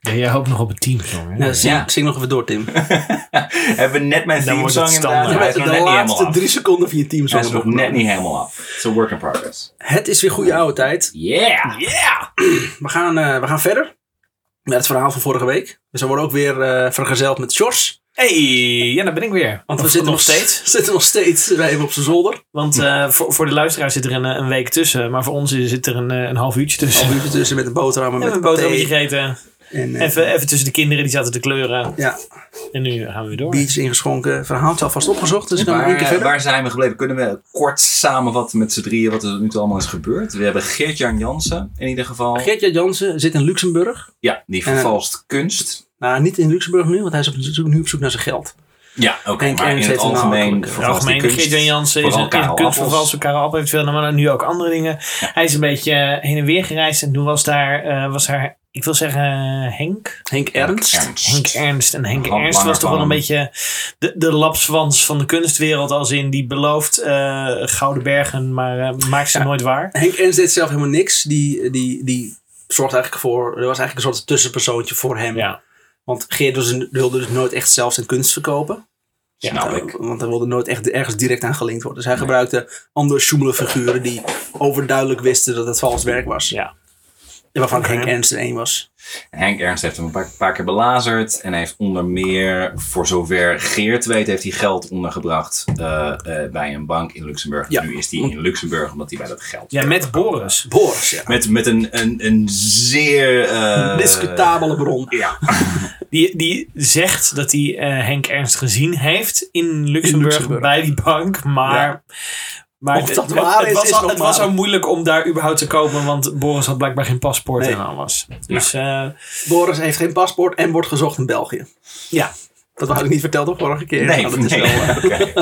En jij hoopt nog op een teamsong. hè? Ja, Nou, zing, Ja. zing nog even door, Tim. Hebben we net mijn Dan theme wordt song het inderdaad. standaard. maar Hij is nog de net niet helemaal laatste af. drie seconden van je team Hij is zo nog net niet helemaal af. It's a work in progress. Het is weer goede oude tijd. Yeah! Yeah! We gaan, eh, we gaan verder met het verhaal van vorige week. Dus we worden ook weer eh, vergezeld met Sjors. Hey, ja, daar ben ik weer. Want we Of zitten nog, steeds. zitten nog steeds bij hem op zijn zolder. Want eh, voor, voor de luisteraar zit er een, eh, een week tussen. Maar voor ons is- zit er een, eh, een half uurtje tussen. Al uurtje tussen met een boterham en We hebben met een paté. boterhammetje gegeten. En eh, Even, even tussen de kinderen, die zaten te kleuren. ja, En nu gaan we weer door. biertjes ingeschonken. Verhaal is alvast opgezocht, dus ik kan nog één keer Waar, verder. eh, waar zijn we gebleven? Kunnen we kort samenvatten met z'n drieën wat er nu toe allemaal is gebeurd? We hebben Geert-Jan Jansen in ieder geval. Gertja Jansen zit in Luxemburg. Ja, die En- vervalst kunst. Nou, niet in Luxemburg nu, want hij is op zoek, nu op zoek naar zijn geld. Ja, oké. Henk maar in Ernst het heeft een algemeen naam. Het vervalst die algemeen, kunst. Geert-Jan Jansen is vooral een, is een Karel kunstvervalser. Appels. Karel Appel heeft veel, nou, maar nu ook andere dingen. Hij is een beetje eh, heen en weer gereisd. En toen was daar, eh, was haar, ik wil zeggen eh, Henk. Henk Ernst. Henk Ernst. En Henk Een handlanger Ernst was toch wel een van hem. beetje de, de lapswans van de kunstwereld. Als in, die belooft eh, gouden bergen, maar eh, maakt ze nooit waar. Henk Ernst deed zelf helemaal niks. Die, die, die zorgde eigenlijk voor... Er was eigenlijk een soort tussenpersoontje voor hem. Ja. Want Geert dus- wilde dus nooit echt zelf zijn kunst verkopen. Eh, Snap ik. Want hij wilde nooit echt ergens direct aan gelinkt worden. Dus hij gebruikte andere sjoemele figuren die overduidelijk wisten dat het vals werk was. Ja. En waarvan Oké. Henk Ernst er één was. Henk Ernst heeft hem een paar, paar keer belazerd. En heeft onder meer, voor zover Geert weet, heeft hij geld ondergebracht eh, eh, bij een bank in Luxemburg. Ja. Nu is hij in Luxemburg omdat hij bij dat geld. ja, met Boris. Boris, ja. Met, met een, een, een zeer. eh, Discutabele bron. Ja. Die, die zegt dat hij eh, Henk Ernst gezien heeft in Luxemburg, Luxemburg. bij die bank. Maar, Ja. maar Of het- dat het, waar het is, was is al, nog het was maar. al moeilijk om daar überhaupt te komen. Want Boris had blijkbaar geen paspoort Nee. Mhm. en alles. Dus eh, Boris heeft geen paspoort en wordt gezocht in België. ja, Dat had ik niet verteld de vorige keer. Nee, Maar dat is nee. wel, eh, Oké.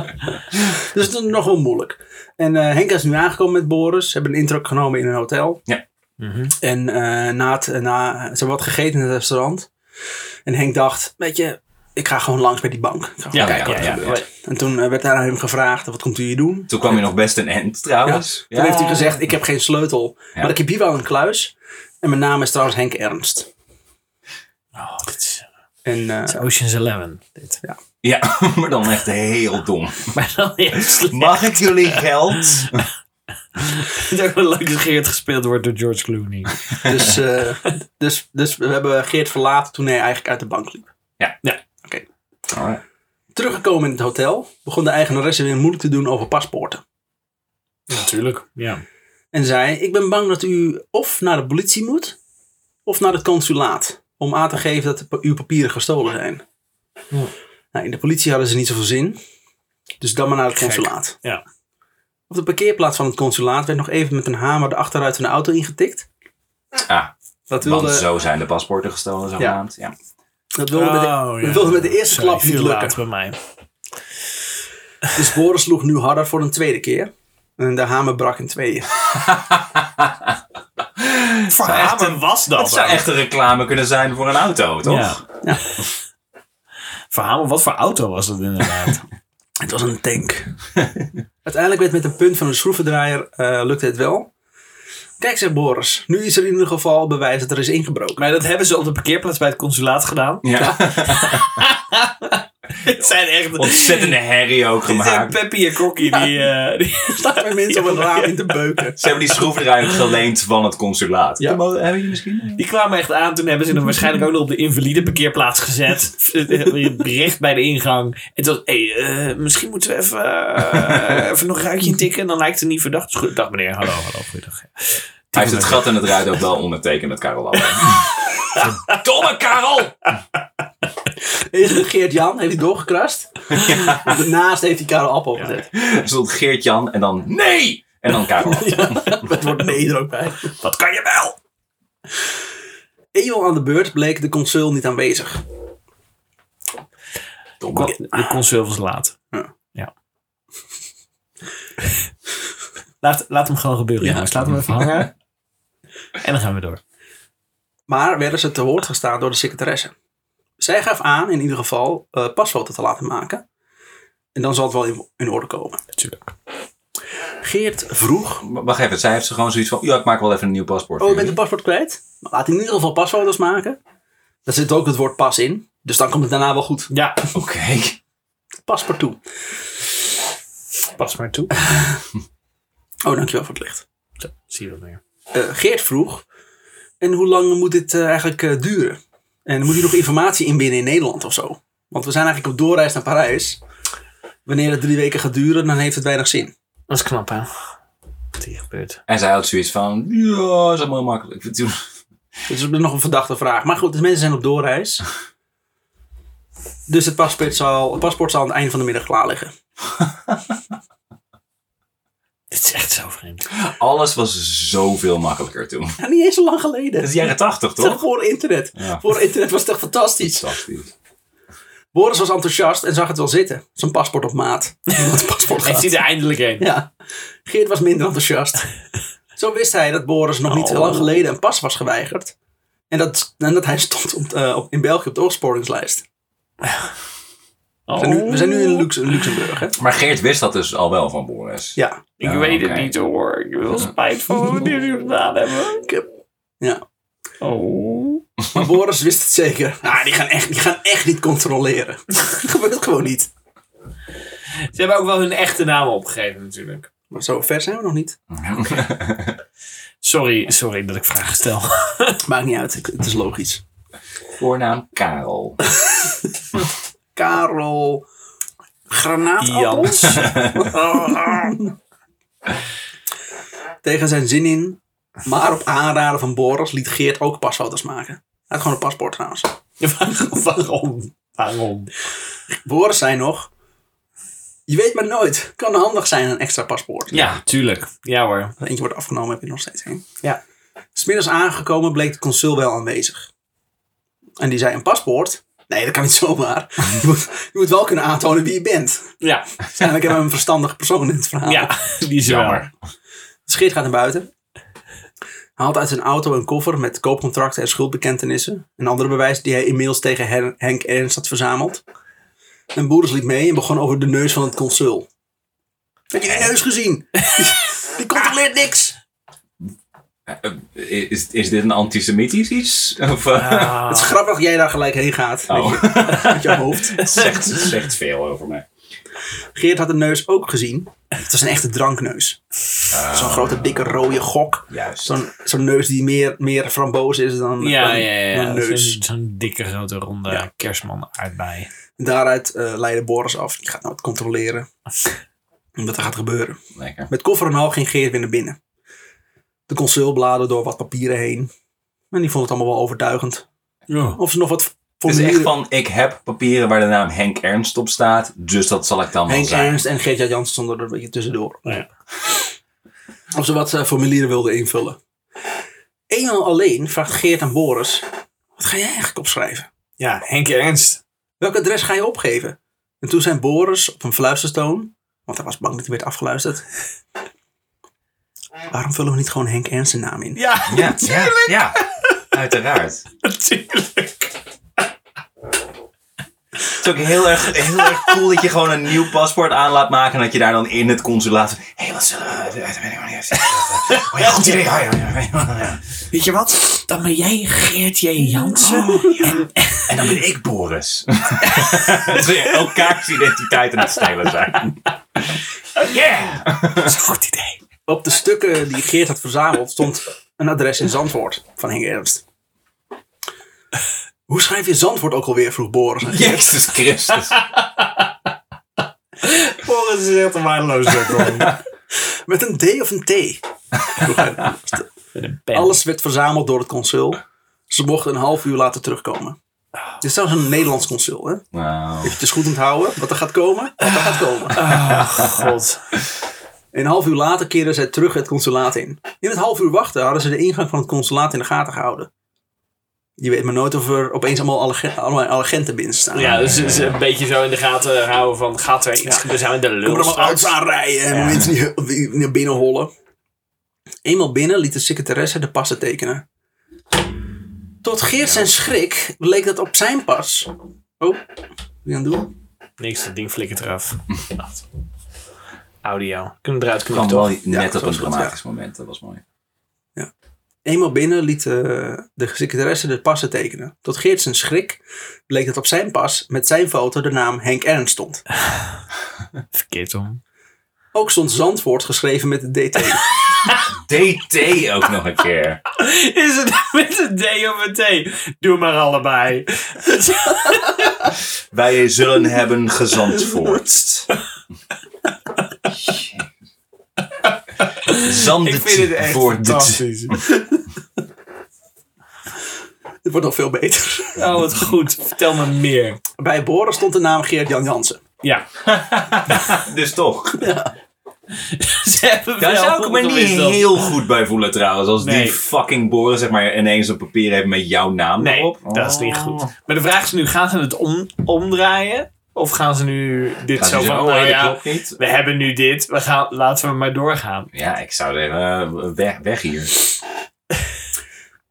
Dus het is nog wel moeilijk. En eh, Henk is nu aangekomen met Boris. Ze hebben een intro genomen in een hotel. Ja. Mhm. En eh, na het, na, ze hebben wat gegeten in het restaurant. En Henk dacht, weet je, ik ga gewoon langs bij die bank. Ik ga Ja, gewoon kijken ja, wat er ja, gebeurt. En toen eh, werd daar aan hem gevraagd, wat komt u hier doen? Toen kwam je nog best een end trouwens. Toen heeft hij gezegd, ik heb geen sleutel. Maar ik heb hier wel een kluis. En mijn naam is trouwens Henk Ernst. Oh, dit is, En eh, het is Ocean's Eleven. Dit. Ja, maar dan echt heel dom. Maar dan is het Mag ik jullie geld? het ook wel leuk dat Geert gespeeld wordt door George Clooney. dus, eh, dus, dus we hebben Geert verlaten toen hij eigenlijk uit de bank liep. Alright. Teruggekomen in het hotel, begon de eigenaresse weer moeilijk te doen over paspoorten. Natuurlijk. Ja. En zei: Ik ben bang dat u of naar de politie moet, of naar het consulaat. Om aan te geven dat de pa- uw papieren gestolen zijn. Ja. Nou, in de politie hadden ze niet zoveel zin. Dus dan maar naar het Gek, consulaat. ja. Op de parkeerplaats van het consulaat werd nog even met een hamer de achteruit van de auto ingetikt. Ah, want Dat wilde, zo zijn de paspoorten gestolen zogenaamd. Ja. eh, dat wilde, met, Oh, de, dat wilde met de eerste Sorry, klap niet viel lukken. laat bij mij. Dus Boris sloeg nu harder voor een tweede keer. En de hamer brak in tweeën. Voor Zou echt Hamer was dat. Dat zou ook. echt een reclame kunnen zijn voor een auto, toch? Ja. Voor Hamer, wat voor auto was dat inderdaad? Het was een tank. Uiteindelijk werd met een punt van een schroevendraaier eh, lukte het wel. Kijk, zegt Boris, nu is er in ieder geval bewijs dat er is ingebroken. maar dat hebben ze op de parkeerplaats bij het consulaat gedaan. Ja. Het zijn echt... Ontzettende herrie ook Dit zijn gemaakt. Peppy en Kokkie die... eh, die- Er staan weer mensen om het raam in te beuken. Ze hebben die schroevendraaier geleend van het consulaat. Ja. Kom, Hebben jullie misschien? eh? Die kwamen echt aan. Toen hebben ze hem waarschijnlijk ook nog op de invalide parkeerplaats gezet. Eh, Recht bij de ingang. En toen was hey, eh, misschien moeten we even, eh, even nog een ruitje intikken. Dan lijkt het niet verdacht. Dus Goed, dag meneer, hallo, hallo, goeiedag. Hij heeft het gat en het ruit ook wel ondertekend met Karel Albert. Domme Karel! Eerst de Geert-Jan, heeft hij doorgekrast. En Daarnaast heeft hij Karel Appel gezet. Er stond Geert-Jan en dan nee! En dan Karel Albert. Het wordt nee er ook bij. Wat kan je wel? Eeuw aan de beurt bleek de consul niet aanwezig. Domme. De consul was laat. Ja. Ja. Laat, laat hem gewoon gebeuren, Ja. jongens. Laat hem even hangen. En dan gaan we door. Maar werden ze te woord gestaan door de secretaresse. Zij gaf aan in ieder geval eh pasfoto te laten maken. En dan zal het wel in, in orde komen. Natuurlijk. Geert vroeg W- Wacht even, zij heeft ze gewoon zoiets van... Ja, ik maak wel even een nieuw paspoort. Oh, je voor bent een paspoort kwijt? Nou, Laat in ieder geval pasfoto's maken. Daar zit ook het woord pas in. Dus dan komt het daarna wel goed. Ja, Oké. Paspartout. pas maar toe. Oh, dankjewel voor het licht. Zo, zie je dat weer. Eh, Geert vroeg. En hoe lang moet dit eh, eigenlijk eh, duren? En moet hij nog informatie inbinnen in Nederland of zo? Want we zijn eigenlijk op doorreis naar Parijs. Wanneer het drie weken gaat duren, dan heeft het weinig zin. Dat is knap, hè? Wat hier gebeurt. En zij houdt zoiets van, ja, is allemaal heel makkelijk. Ik bedoel, Dus dat is nog een verdachte vraag. Maar goed, de mensen zijn op doorreis. Dus het paspoort zal, het paspoort zal aan het einde van de middag klaar liggen. Dit is echt zo vreemd. Alles was zoveel makkelijker toen. Ja, niet eens zo lang geleden. Dat is jaren tachtig, Het is toch? echt voor internet. Ja. Voor internet was het echt fantastisch. Fantastisch. Boris was enthousiast en zag het wel zitten. Zijn paspoort op maat. Het paspoort Hij gaat. zit er eindelijk heen. Ja. Geert was minder enthousiast. Zo wist hij dat Boris nog niet Oh. lang geleden een pas was geweigerd. En dat, en dat hij stond op, eh, op- in België op de opsporingslijst. We zijn nu, we zijn nu in Lux- Luxemburg, hè? Maar Geert wist dat dus al wel van Boris. Ja. Ik Ja, weet oké. het niet hoor. Ik heb wel spijt van wat we nu gedaan hebben. Ik heb- Ja. Oh. Maar Boris wist het zeker. Ah, die, gaan echt, die gaan echt niet controleren. dat gebeurt gewoon niet. Ze hebben ook wel hun echte naam opgegeven natuurlijk. Maar zo ver zijn we nog niet. Sorry, sorry dat ik vragen stel. Maakt niet uit, ik- het is logisch. Voornaam Karel. Karel. Granaatappels? Tegen zijn zin in. Maar op aanraden van Boris liet Geert ook pasfoto's maken. Hij had gewoon een paspoort trouwens. Waarom? Waarom? Boris zei nog. Je weet maar nooit. Kan handig zijn een extra paspoort. Ja, tuurlijk. Ja hoor. Eentje wordt afgenomen, heb je er nog steeds één. Ja. Smiddags aangekomen bleek de consul wel aanwezig. En die zei: Een paspoort? Nee, dat kan niet zomaar. Je moet, je moet wel kunnen aantonen wie je bent. Ja, Dus eigenlijk hebben we een verstandige persoon in het verhaal. ja die is er wel. Jammer. Dus Geert gaat naar buiten. Haalt uit zijn auto een koffer met koopcontracten en schuldbekentenissen. En andere bewijs die hij inmiddels tegen Hen- Henk Ernst had verzameld. En Boeres dus liep mee en begon over de neus van het consul. Heb je die neus gezien? Die controleert niks. Eh, Is, is dit een antisemitisch iets? Of, eh, Ah. Het is grappig dat jij daar gelijk heen gaat. Met, oh. je, met je hoofd. Het zegt, het zegt veel over mij. Geert had de neus ook gezien. Het was een echte drankneus. Ah. Zo'n grote, dikke, rode gok. Juist. Zo'n zo'n neus die meer, meer framboos is dan, ja, dan- ja, ja. dan ja. neus. Zo'n- Zo'n dikke grote ronde Ja. kerstman aardbei. Daaruit eh, leidde Boris af. Die gaat nou het controleren. Wat er gaat gebeuren. Lekker. Met koffer en al ging Geert weer naar binnen. De consul bladerde door wat papieren heen. En die vond het allemaal wel overtuigend. Ja. Of ze nog wat Het is echt formulieren... van, ik heb papieren waar de naam Henk Ernst op staat, dus dat zal ik dan wel Henk zijn. Ernst en Geert-Jan Jansen stonden er een beetje tussendoor. Ja. Of ze wat eh, formulieren wilden invullen. Eenmaal alleen vraagt Geert aan Boris... Wat ga jij eigenlijk opschrijven? ja, Henk Ernst. Welk adres ga je opgeven? En toen zei Boris op een fluistertoon, want hij was bang dat hij werd afgeluisterd. Waarom vullen we niet gewoon Henk Ernst zijn naam in? Ja, Ja, ja, ja, uiteraard. natuurlijk. Het is ook heel erg, heel erg cool dat je gewoon een nieuw paspoort aan laat maken en dat je daar dan in het consulaat... Hé, hey, wat zullen we... Dat weet ik nog niet. Oh ja, goed idee. Oh, ja, ja, ja, ja. Weet je wat? Dan ben jij Geert J. Jansen. En, En dan ben ik Boris. dat ze elkaars identiteit aan het stelen zijn. yeah! Dat is een goed idee. Op de stukken die Geert had verzameld stond een adres in Zandvoort van Henk Ernst. Hoe schrijf je Zandvoort ook alweer? vroeg Boris. aan Geert. Jezus Christus. Boris is echt een waardeloze Met een D of een T? Vroeg hij. Alles werd verzameld door het consul. Ze mochten een half uur later terugkomen. Dit is trouwens een Nederlands consul, hè? Nou, Het is goed onthouden wat er gaat komen, wat er gaat komen. Oh, god. Een half uur later keerden zij terug het consulaat in. In het half uur wachten hadden ze de ingang van het consulaat in de gaten gehouden. Je weet maar nooit of er opeens allemaal alle- allemaal agenten binnen staan. Ja, dus, dus een beetje zo in de gaten houden van, gaat er iets, Ja. we zijn in de Kom er lul. allemaal auto's aanrijden en Ja. mensen die- die naar binnen hollen. Eenmaal binnen liet de secretaresse de passen tekenen. Tot Geert zijn schrik bleek dat op zijn pas... Oh, wie aan het doen? Niks, dat ding flikkert eraf. Wacht. Audio. Kunnen we eruit kwam knippen, toch? wel net dat op een was goed, dramatisch moment. Dat was mooi. Eenmaal binnen liet eh, de secretaresse de passen tekenen. Tot Geert zijn schrik bleek dat op zijn pas met zijn foto de naam Henk Ernst stond. Verkeerd om. Ook stond Zandvoort geschreven met de DT. DT ook nog een keer. Is het nou met een D of een T? Doe maar allebei. Wij zullen hebben gezandvoort. Ik vind het echt Zandvoort. fantastisch. Het wordt nog veel beter. Oh, wat goed. Vertel me meer. Bij Boren stond de naam Geert Jan Jansen. Ja. Dus toch. Ze hebben Daar wel zou ik me niet gewisseld. heel goed bij voelen trouwens. Als Nee. die fucking boren zeg maar ineens een papier heeft met jouw naam Nee, erop. Oh. dat is niet goed. Maar de vraag is nu, gaan ze het om, omdraaien? Of gaan ze nu dit Gaat zo die van, oh, nou nee, dat ja, klopt niet. we hebben nu dit, we gaan, laten we maar doorgaan. Ja, ik zou zeggen, eh, weg, weg hier.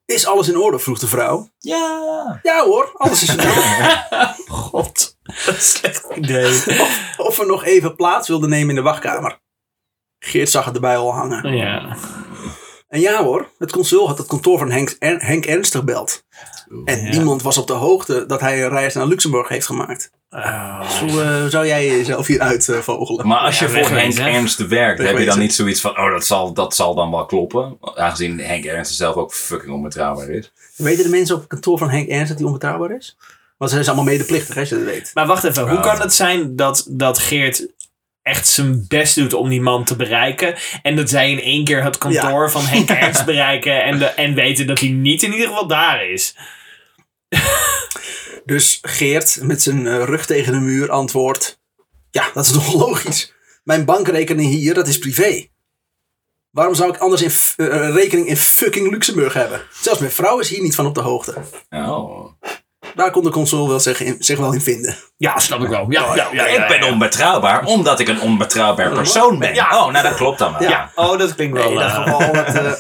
Is alles in orde? vroeg de vrouw. Ja. Ja hoor, alles is in orde. God, dat is slecht idee. Of we nog even plaats wilden nemen in de wachtkamer. Geert zag het erbij al hangen. Ja. En ja hoor, het consul had het kantoor van Henk, Er- Henk Ernst gebeld. En Ja. niemand was op de hoogte dat hij een reis naar Luxemburg heeft gemaakt. Oh. Hoe eh, zou jij jezelf hieruit eh, vogelen? Maar als je Ja, voor Henk wegwezen. Ernst werkt, heb je dan Wegwezen. niet zoiets van, oh dat zal, dat zal dan wel kloppen. Aangezien Henk Ernst zelf ook fucking onbetrouwbaar is. Weten de mensen op het kantoor van Henk Ernst dat hij onbetrouwbaar is? Want ze zijn allemaal medeplichtig, hè, als je dat weet. Maar wacht even, hoe Oh. kan het zijn dat, dat Geert echt zijn best doet om die man te bereiken en dat zij in één keer het kantoor van Henk Ernst bereiken en, de, en weten dat hij niet in ieder geval daar is? Dus Geert met zijn eh, rug tegen de muur antwoordt: Ja, dat is nog logisch. Mijn bankrekening hier, dat is privé. Waarom zou ik anders in f- eh, een rekening in fucking Luxemburg hebben? Zelfs mijn vrouw is hier niet van op de hoogte. Oh. Daar kon de consul wel zich, in- zich wel in vinden. Ja, snap Oh, ik wel. Ja, ja, ja, ja, ik ben ja. onbetrouwbaar omdat ik een onbetrouwbaar persoon ben. Ja. Oh, nou dat klopt dan wel. Ja. Ja, oh, dat klinkt wel. In dat eh, geval dat, eh,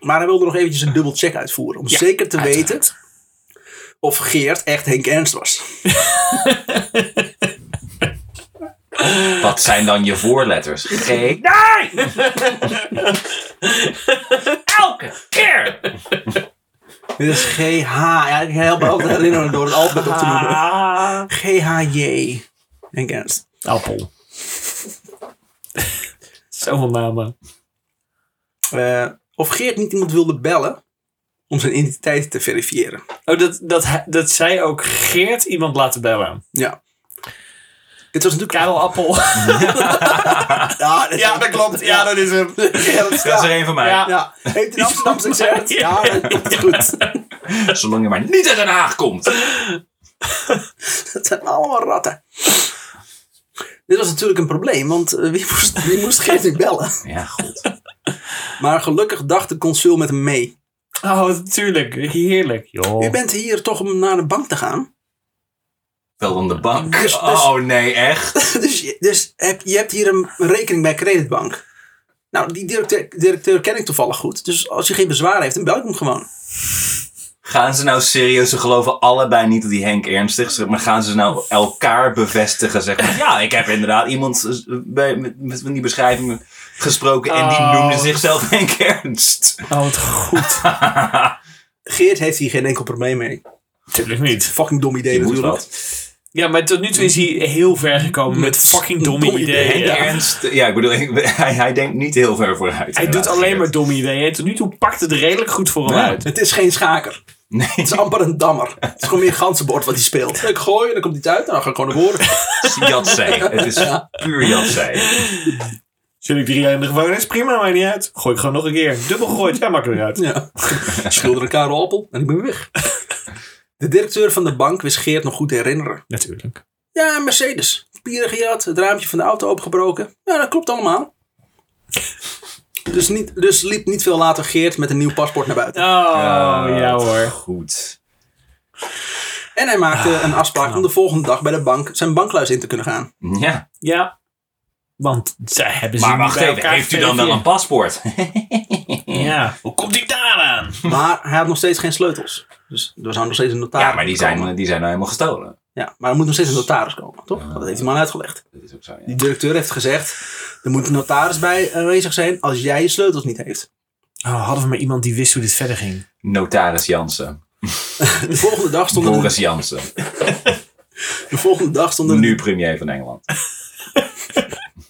maar hij wilde nog eventjes een dubbel check uitvoeren. Om zeker te weten of Geert echt Henk Ernst was. Wat zijn dan je voorletters? G. Nee! Elke keer! Dit is GH. Ja, ik help me ook te herinneren door het alfabet op te noemen. Ah, GHJ. Henk Ernst. appel. Zoveel namen. Eh, of Geert niet iemand wilde bellen om zijn identiteit te verifiëren. Oh, dat, dat, hij- dat zij ook Geert iemand laten bellen. Ja. Dit was natuurlijk... Karel Appel. Ja, dit- dat klopt. Ja, dat is hem. Ja, dat is- Dat is er ja. één van mij. Ja. Ja. Heeft een Amsterdamse accent? Ja, dat komt goed. Zolang je maar niet uit Den Haag komt. Dat zijn allemaal ratten. Dit was natuurlijk een probleem, want eh, wie moest, wie moest Geert nu bellen? Ja, goed. Maar gelukkig dacht de consul met hem mee. Oh, natuurlijk. Heerlijk. U Joh. bent hier toch om naar de bank te gaan? Wel aan de bank. Dus- dus- Oh nee, echt? dus je, dus heb, je hebt hier een rekening bij Creditbank. Nou, die directeur, directeur ken ik toevallig goed. Dus als je geen bezwaar heeft, dan bel ik hem gewoon. Gaan ze nou serieus, ze geloven allebei niet dat die Henk ernstig is, maar gaan ze nou elkaar bevestigen? Zeg maar, ja, ik heb inderdaad iemand eh, bij, met, met van die beschrijving gesproken en die Oh. noemde zichzelf Henk Ernst. Oh, wat goed. Geert heeft hier geen enkel probleem mee. Natuurlijk niet. Fucking dom idee Die moet natuurlijk. wat. Ja, maar tot nu toe is hij heel ver gekomen met, Met fucking domme domme ideeën. ideeën, Ja. Ernst, ja, ik bedoel, ik- hij, hij denkt niet heel ver vooruit. Hij doet inderdaad, alleen maar Geert. domme ideeën. Tot nu toe pakt het redelijk goed voor hem Ja. uit. Het is geen schaker. Nee, Het is amper een dammer. Het is gewoon meer een ganzenbord wat hij speelt. Ik gooi en dan komt hij het uit en dan ga ik gewoon naar voren. het is Jatzij. Het is puur Jatzij. Oh, Zul ik drie jaar in de gevangenis? Prima, maar niet uit. Gooi ik gewoon nog een keer. Dubbel gegooid. Ja, makkelijk uit. Ja. Schilder een karel appel en ik ben weg. De directeur van de bank wist Geert nog goed te herinneren. Natuurlijk. Ja, een Mercedes. Pieren gejat, het raampje van de auto opengebroken. Ja, dat klopt allemaal. Dus, niet, dus liep niet veel later Geert met een nieuw paspoort naar buiten. Oh, ja hoor. Eh, Goed. En hij maakte een afspraak om de volgende dag bij de bank zijn bankluis in te kunnen gaan. Ja, Ja. Want zij hebben ze maar niet wacht Dus bij even, elkaar heeft u dan wel een geverifieerd. paspoort? Ja. Hoe komt hij daar aan? Maar hij had nog steeds geen sleutels. Dus er zou nog steeds een notaris Ja, Ah, maar die komen. zijn, die zijn nou helemaal gestolen. Ja, maar er moet nog steeds een notaris komen, toch? Dat heeft die man uitgelegd. Dat is ook zo, ja. Die directeur heeft gezegd: er moet een notaris bij aanwezig zijn als jij je sleutels niet heeft. Oh, hadden we maar iemand die wist hoe dit verder ging. Notaris Jansen. De volgende dag stonden, Boris Jansen. de volgende dag stonden, Nu premier van Engeland.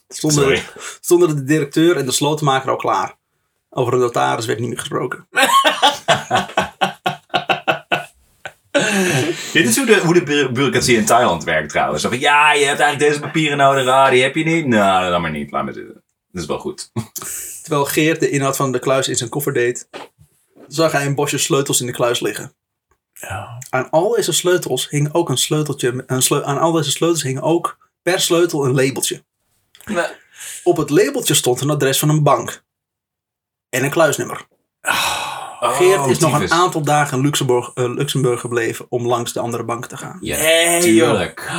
stonden, Sorry. stonden de directeur en de slotenmaker al klaar. Over een notaris werd niet meer gesproken. Dit is hoe de, hoe de bu- bureaucratie in Thailand werkt trouwens. Zo van, ja, je hebt eigenlijk deze papieren nodig. Ah, die heb je niet. Nou, dan maar niet. Laat maar zitten. Dat is wel goed. Terwijl Geert de inhoud van de kluis in zijn koffer deed, zag hij een bosje sleutels in de kluis liggen. Ja. Aan al deze sleutels hing ook een sleuteltje. met- Een sleu- aan al deze sleutels hing ook per sleutel een labeltje. Op het labeltje stond een adres van een bank. En een kluisnummer. Oh, Geert is nog een tyfus. aantal dagen in Luxemburg, eh, Luxemburg gebleven om langs de andere bank te gaan. Ja, Hey, tuurlijk.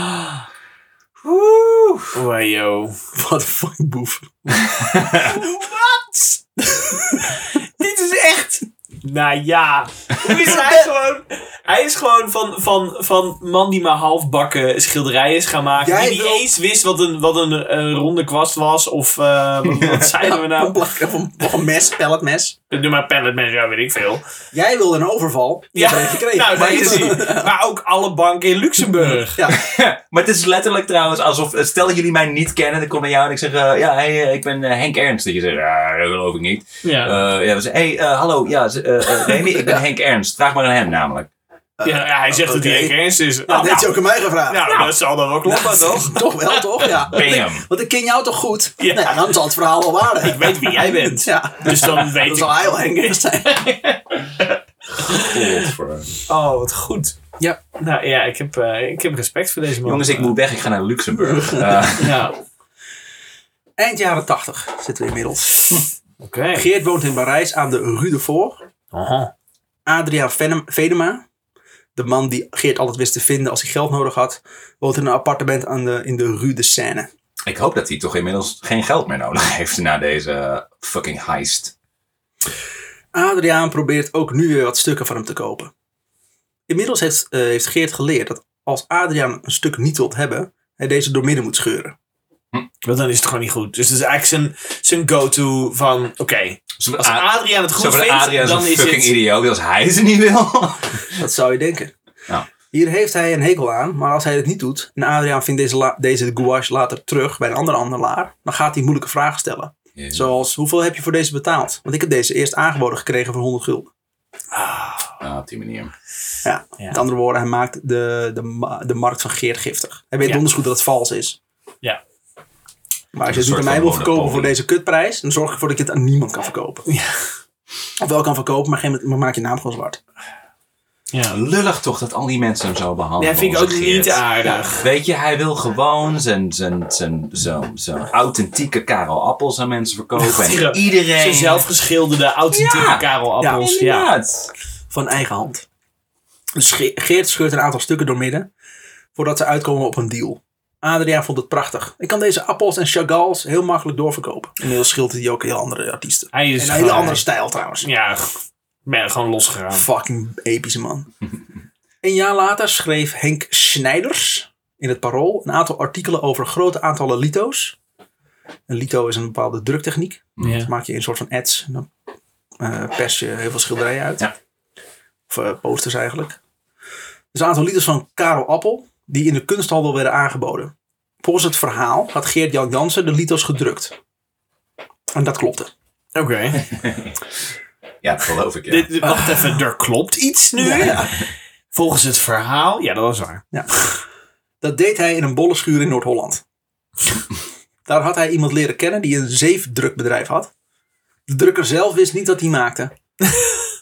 Oeh. Oh, yo. Wat een fucking boef. Wat? Dit is echt. Nou ja, hoe is hij gewoon? Hij is gewoon van, van, van man die maar halfbakken schilderijen is gaan maken. Jij die niet wil- eens wist wat een, wat een eh, ronde kwast was. Of eh, wat, wat zeiden we Een nou? plak- of een, of een mes, pelletmes. Doe maar pallet met, ja, weet ik veel. Jij wilde een overval. Die Ja, heb je gekregen. nou, daar Maar- is hij. Maar ook alle banken in Luxemburg. Ja, Maar het is letterlijk trouwens alsof, stel dat jullie mij niet kennen, dan kom ik naar jou en ik zeg, eh, ja, hey, eh, ik ben eh, Henk Ernst. Dat je zegt, ja, dat geloof ik niet. Eh, Ja. ja, we zeggen, hey, eh, hallo, ja, ze- eh, eh, nee, nee, ik ben Henk Ernst. Vraag maar aan hem namelijk. ja, ja, hij zegt dat hij Ah, oké. echt ernst is. dat Nou, heeft nou, je ook aan mij gevraagd. nou, dat zal dan wel kloppen, toch? Toch wel, toch? Ja. Bam. Want ik ken jou toch goed? Ja. Nou ja, dan zal het verhaal al waar Ik weet wie jij bent. Ja, Dus dan weet ik. dat zal hij al Henk Ernst zijn. Godver. Oh, wat goed. Ja. Nou ja, ik heb, eh, ik heb respect voor deze man. Jongens, ik moet weg, ik ga naar Luxemburg. Eh, Ja, oké. Eind jaren 80 zitten we inmiddels. Geert woont in Parijs aan de Rue de Fort. Aha. Adria Venem- Venema, de man die Geert altijd wist te vinden als hij geld nodig had, woont in een appartement aan de, in de Rue de Seine. ik hoop dat hij toch inmiddels geen geld meer nodig heeft na deze fucking heist. Adriaan probeert ook nu weer wat stukken van hem te kopen. Inmiddels heeft, eh, heeft Geert geleerd dat als Adriaan een stuk niet wilt hebben, hij deze doormidden moet scheuren. Want dan is het gewoon niet goed. Dus dat is eigenlijk zijn, zijn go-to van... Oké, Zo als Adriaan het goed van vindt, Ah, Adriaan is een dan is fucking het... idioot als hij ze niet wil. Dat zou je denken. Ja. Hier heeft hij een hekel aan, maar als hij het niet doet en Adriaan vindt deze, la- deze gouache later terug bij een andere handelaar, dan gaat hij moeilijke vragen stellen. Zoals, hoeveel heb je voor deze betaald? Want ik heb deze eerst aangeboden gekregen voor 100 gulden. Ah, op die manier. Ja, Ja. met andere woorden, hij maakt de, de, ma- de markt van Geert giftig. Hij weet Ja. donders goed dat het vals is. Ja. Een Maar als je het niet soort aan mij van wil verkopen voor monopolie. deze kutprijs, dan zorg ik ervoor dat ik het aan niemand kan verkopen. Ja. Of wel kan verkopen, maar, geen, maar maak je naam gewoon zwart. Ja. Nou, Lullig toch dat al die mensen hem zo behandelen. Nee, vind ik onze ook niet Geert. aardig. Weet je, hij wil gewoon zijn, zijn, zijn, zijn, zijn authentieke Karel Appels aan mensen verkopen. Ja. En iedereen... Zijn zelfgeschilderde, authentieke Ja. Karel Ja, Appels. Ja, Inderdaad. Van eigen hand. Dus Ge- Geert scheurt een aantal stukken doormidden, voordat ze uitkomen op een deal. Adriaan vond het prachtig. Ik kan deze appels en chagals heel makkelijk doorverkopen. Inmiddels scheelt hij ook heel andere artiesten. Hij is En een hele gewoon- andere stijl trouwens. Ja, g- ben gewoon losgegaan. Fucking epische man. een jaar later schreef Henk Snijders in het Parool een aantal artikelen over grote aantallen lito's. Een lito is een bepaalde druktechniek. Ja. Dat maak je in een soort van ads. En dan eh, pers je heel veel schilderijen uit. Ja. Of eh, posters eigenlijk. Dus een aantal lieders van Karel Appel, die in de kunsthandel werden aangeboden. Volgens het verhaal had Geert-Jan Jansen de lito's gedrukt. En dat klopte. Oké. Ja, dat geloof ik. Ja. Dit- dit- Wacht even, er klopt iets nu. Ja. Volgens het verhaal. Ja, dat was waar. Dat deed hij in een bolle schuur in Noord-Holland. Daar had hij iemand leren kennen die een zeefdrukbedrijf had. De drukker zelf wist niet wat hij maakte.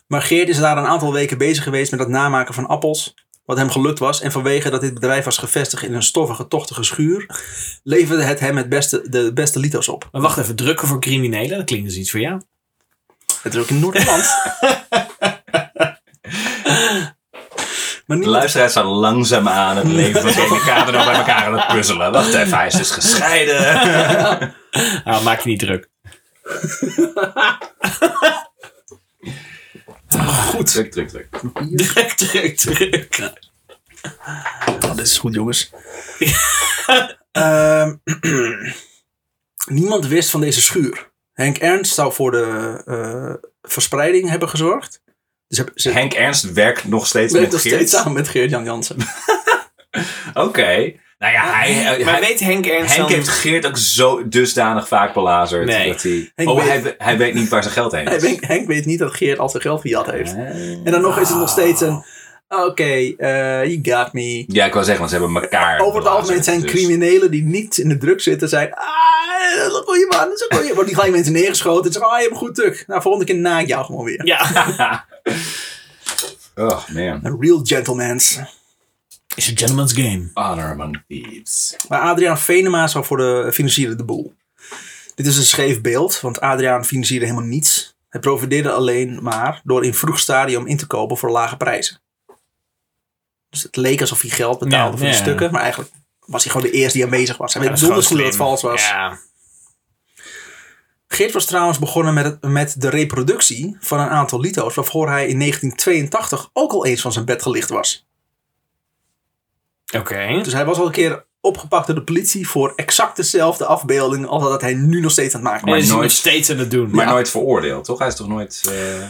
Maar Geert is daar een aantal weken bezig geweest met het namaken van appels. Wat hem gelukt was. En vanwege dat dit bedrijf was gevestigd in een stoffige, tochtige schuur. leverde het hem het beste, de beste lito's op. Maar wacht even, drukken voor criminelen, dat klinkt dus iets voor jou. Het is ook in Noord-Holland. maar De niemand luisteraars zijn langzaamaan het leven van Jamie Kader nog bij elkaar aan het puzzelen. Wacht even, hij is dus gescheiden. Ah, maak je niet druk. goed. Druk, druk, druk. Druk, druk, druk. Oh, dit is goed, jongens. Ehm, niemand wist van deze schuur. Henk Ernst zou voor de, eh, verspreiding hebben gezorgd. Dus heb, ze Henk Ernst werkt nog steeds werkt met nog Geert. steeds samen met Geert-Jan Jansen. Oké. Nou Ah, ja, hij, hij- Maar weet Henk Ernst Henk dan... heeft Geert ook zo dusdanig vaak belazerd. Nee. Dat hij, Henk oh, weet- hij, we- hij weet niet waar zijn geld heen Henk is. weet, Henk weet niet dat Geert al zijn geld gejat heeft. Eh. En dan nog is het nog steeds een... Oké, eh, you got me. Ja, ik wou zeggen, want ze hebben elkaar Over het belazerd, algemeen zijn dus. criminelen die niet in de druk zitten, zijn... Ah, dat is een goeie man, dat is een goeie. Wordt die gelijk mensen neergeschoten. En zeggen, ah, je hebt een goed tuk. Nou, volgende keer na ik jou gewoon weer. Ja. Oh man, Een real gentlemans. Is a gentleman's game. honor among thieves. Maar Adriaan Venema zou voor de financieren de boel. Dit is een scheef beeld, want Adriaan financierde helemaal niets. Hij profiteerde alleen maar door in vroeg stadium in te kopen voor lage prijzen. Dus het leek alsof hij geld betaalde Ja, voor de ja. stukken, maar eigenlijk was hij gewoon de eerste die aanwezig was. Hij weet Dat is donders goed gewoon dat het vals was. Ja. Geert was trouwens begonnen met, het- met de reproductie van een aantal lito's waarvoor hij in 1982 ook al eens van zijn bed gelicht was. Oké. Dus hij was al een keer opgepakt door de politie voor exact dezelfde afbeelding als dat hij nu nog steeds aan het maken was. En is hij nooit- nog steeds aan het doen. Maar Ja. nooit veroordeeld, toch? Hij is toch nooit... eh,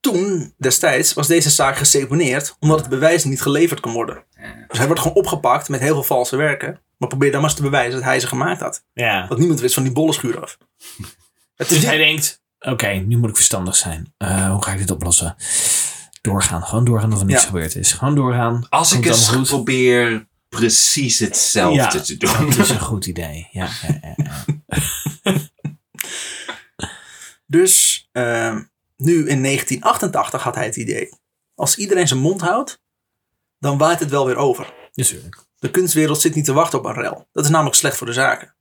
Toen, destijds, was deze zaak geseponeerd omdat het bewijs niet geleverd kon worden. Dus hij wordt gewoon opgepakt met heel veel valse werken. Maar probeer dan maar eens te bewijzen dat hij ze gemaakt had. ja. Want niemand wist van die bollenschuur af. Het is Dus niet- hij denkt, oké, nu moet ik verstandig zijn. Eh, hoe ga ik dit oplossen? Doorgaan. Gewoon doorgaan of er niks Ja. gebeurd is. Gewoon doorgaan. Als ik Komt eens allemaal goed. probeer precies hetzelfde Ja. te doen. Dat is een goed idee. Ja, ja, ja, ja. Dus ehm, nu in 1988 had hij het idee. Als iedereen zijn mond houdt, dan waait het wel weer over. Natuurlijk. De kunstwereld zit niet te wachten op een rel. Dat is namelijk slecht voor de zaken.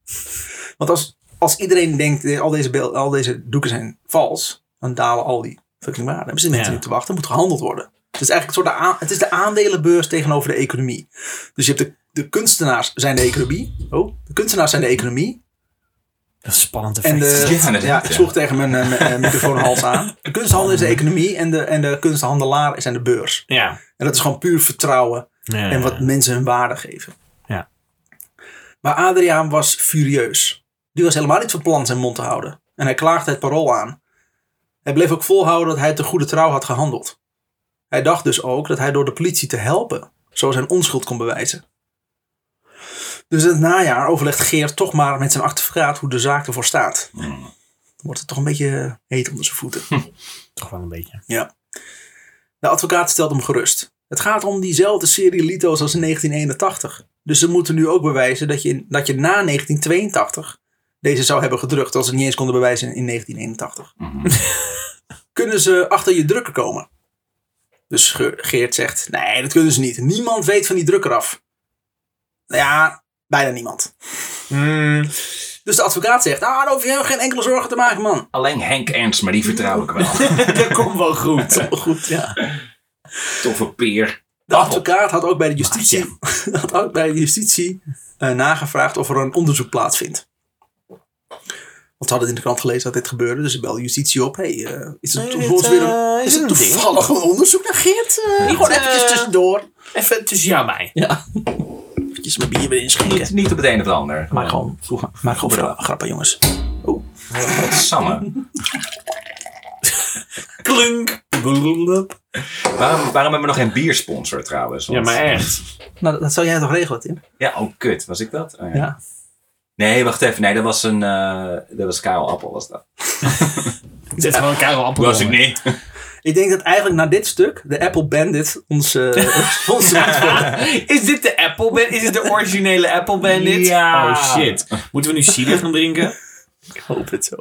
Want als, als iedereen denkt, eh, al deze, beelden, al deze doeken zijn vals, dan dalen al die fucking waarden. Er zitten mensen Ja. niet te wachten, er moet gehandeld worden. Het is eigenlijk een soort de, a- het is de aandelenbeurs tegenover de economie. Dus je hebt de, de kunstenaars zijn de economie. Oh, de kunstenaars zijn de economie. Dat is een spannend effect. En de, Ja, ja, dat- ik ja. sloeg tegen mijn eh, mijn, eh, microfoonhals aan. De kunsthandel is de economie en de, en de kunsthandelaar zijn de beurs. ja. En dat is gewoon puur vertrouwen Ja. en wat mensen hun waarde geven. Ja. Maar Adriaan was furieus. Die was helemaal niet van plan zijn mond te houden. En hij klaagde het parool aan. Hij bleef ook volhouden dat hij te goede trouw had gehandeld. Hij dacht dus ook dat hij door de politie te helpen zo zijn onschuld kon bewijzen. Dus in het najaar overlegt Geert toch maar met zijn advocaat hoe de zaak ervoor staat. Hmm. Dan wordt het toch een beetje heet onder zijn voeten. Toch wel een beetje. De advocaat stelt hem gerust. Het gaat om diezelfde serie lito's als in 1981. Dus ze moeten nu ook bewijzen dat je, dat je na 1982 deze zou hebben gedrukt, als ze het niet eens konden bewijzen in 1981. Mhm. Kunnen ze achter je drukker komen? Dus Ge- Geert zegt, nee, dat kunnen ze niet. Niemand weet van die drukker af. Nou ja, bijna niemand. Dus de advocaat zegt, ah, daar hoef je helemaal geen enkele zorgen te maken, man. Alleen Henk Ernst, maar die vertrouw ik wel. dat komt wel goed. Goed, ja. Toffe peer. De advocaat had ook bij de justitie, Maar had ook bij de justitie eh, nagevraagd of er een onderzoek plaatsvindt. Want ze hadden in de krant gelezen dat dit gebeurde, dus ze belde justitie op. Hey, eh, is het Nee, dit, toevallig weer een, eh, is is het een ding. toevallig een onderzoek naar Geert? Eh, gewoon eh, eventjes tussendoor. Even tussen jou en mij. Ja. Eventjes mijn bier weer inschenken. Niet, niet op het een of het ander. Maak gewoon, maak gewoon vra- grappen, jongens. Wat samme. Klunk. Blub. Waarom, waarom hebben we nog geen biersponsor trouwens? Ja, Want- maar echt. Nou, dat, dat zou jij toch regelen, Tim? Ja, oh kut. Was ik dat? Oh, ja. Ja. Nee, wacht even. Nee, dat was een... eh, dat was Karel Appel, was dat. Zet wel een karel appel onder. niet. Ik denk dat eigenlijk na dit stuk de Apple Bandit ons eh, sponsor moet worden. Is dit de Apple Bandit? Is het de originele Apple Bandit? Ja. Oh shit. Moeten we nu cider gaan drinken? Ik hoop het zo.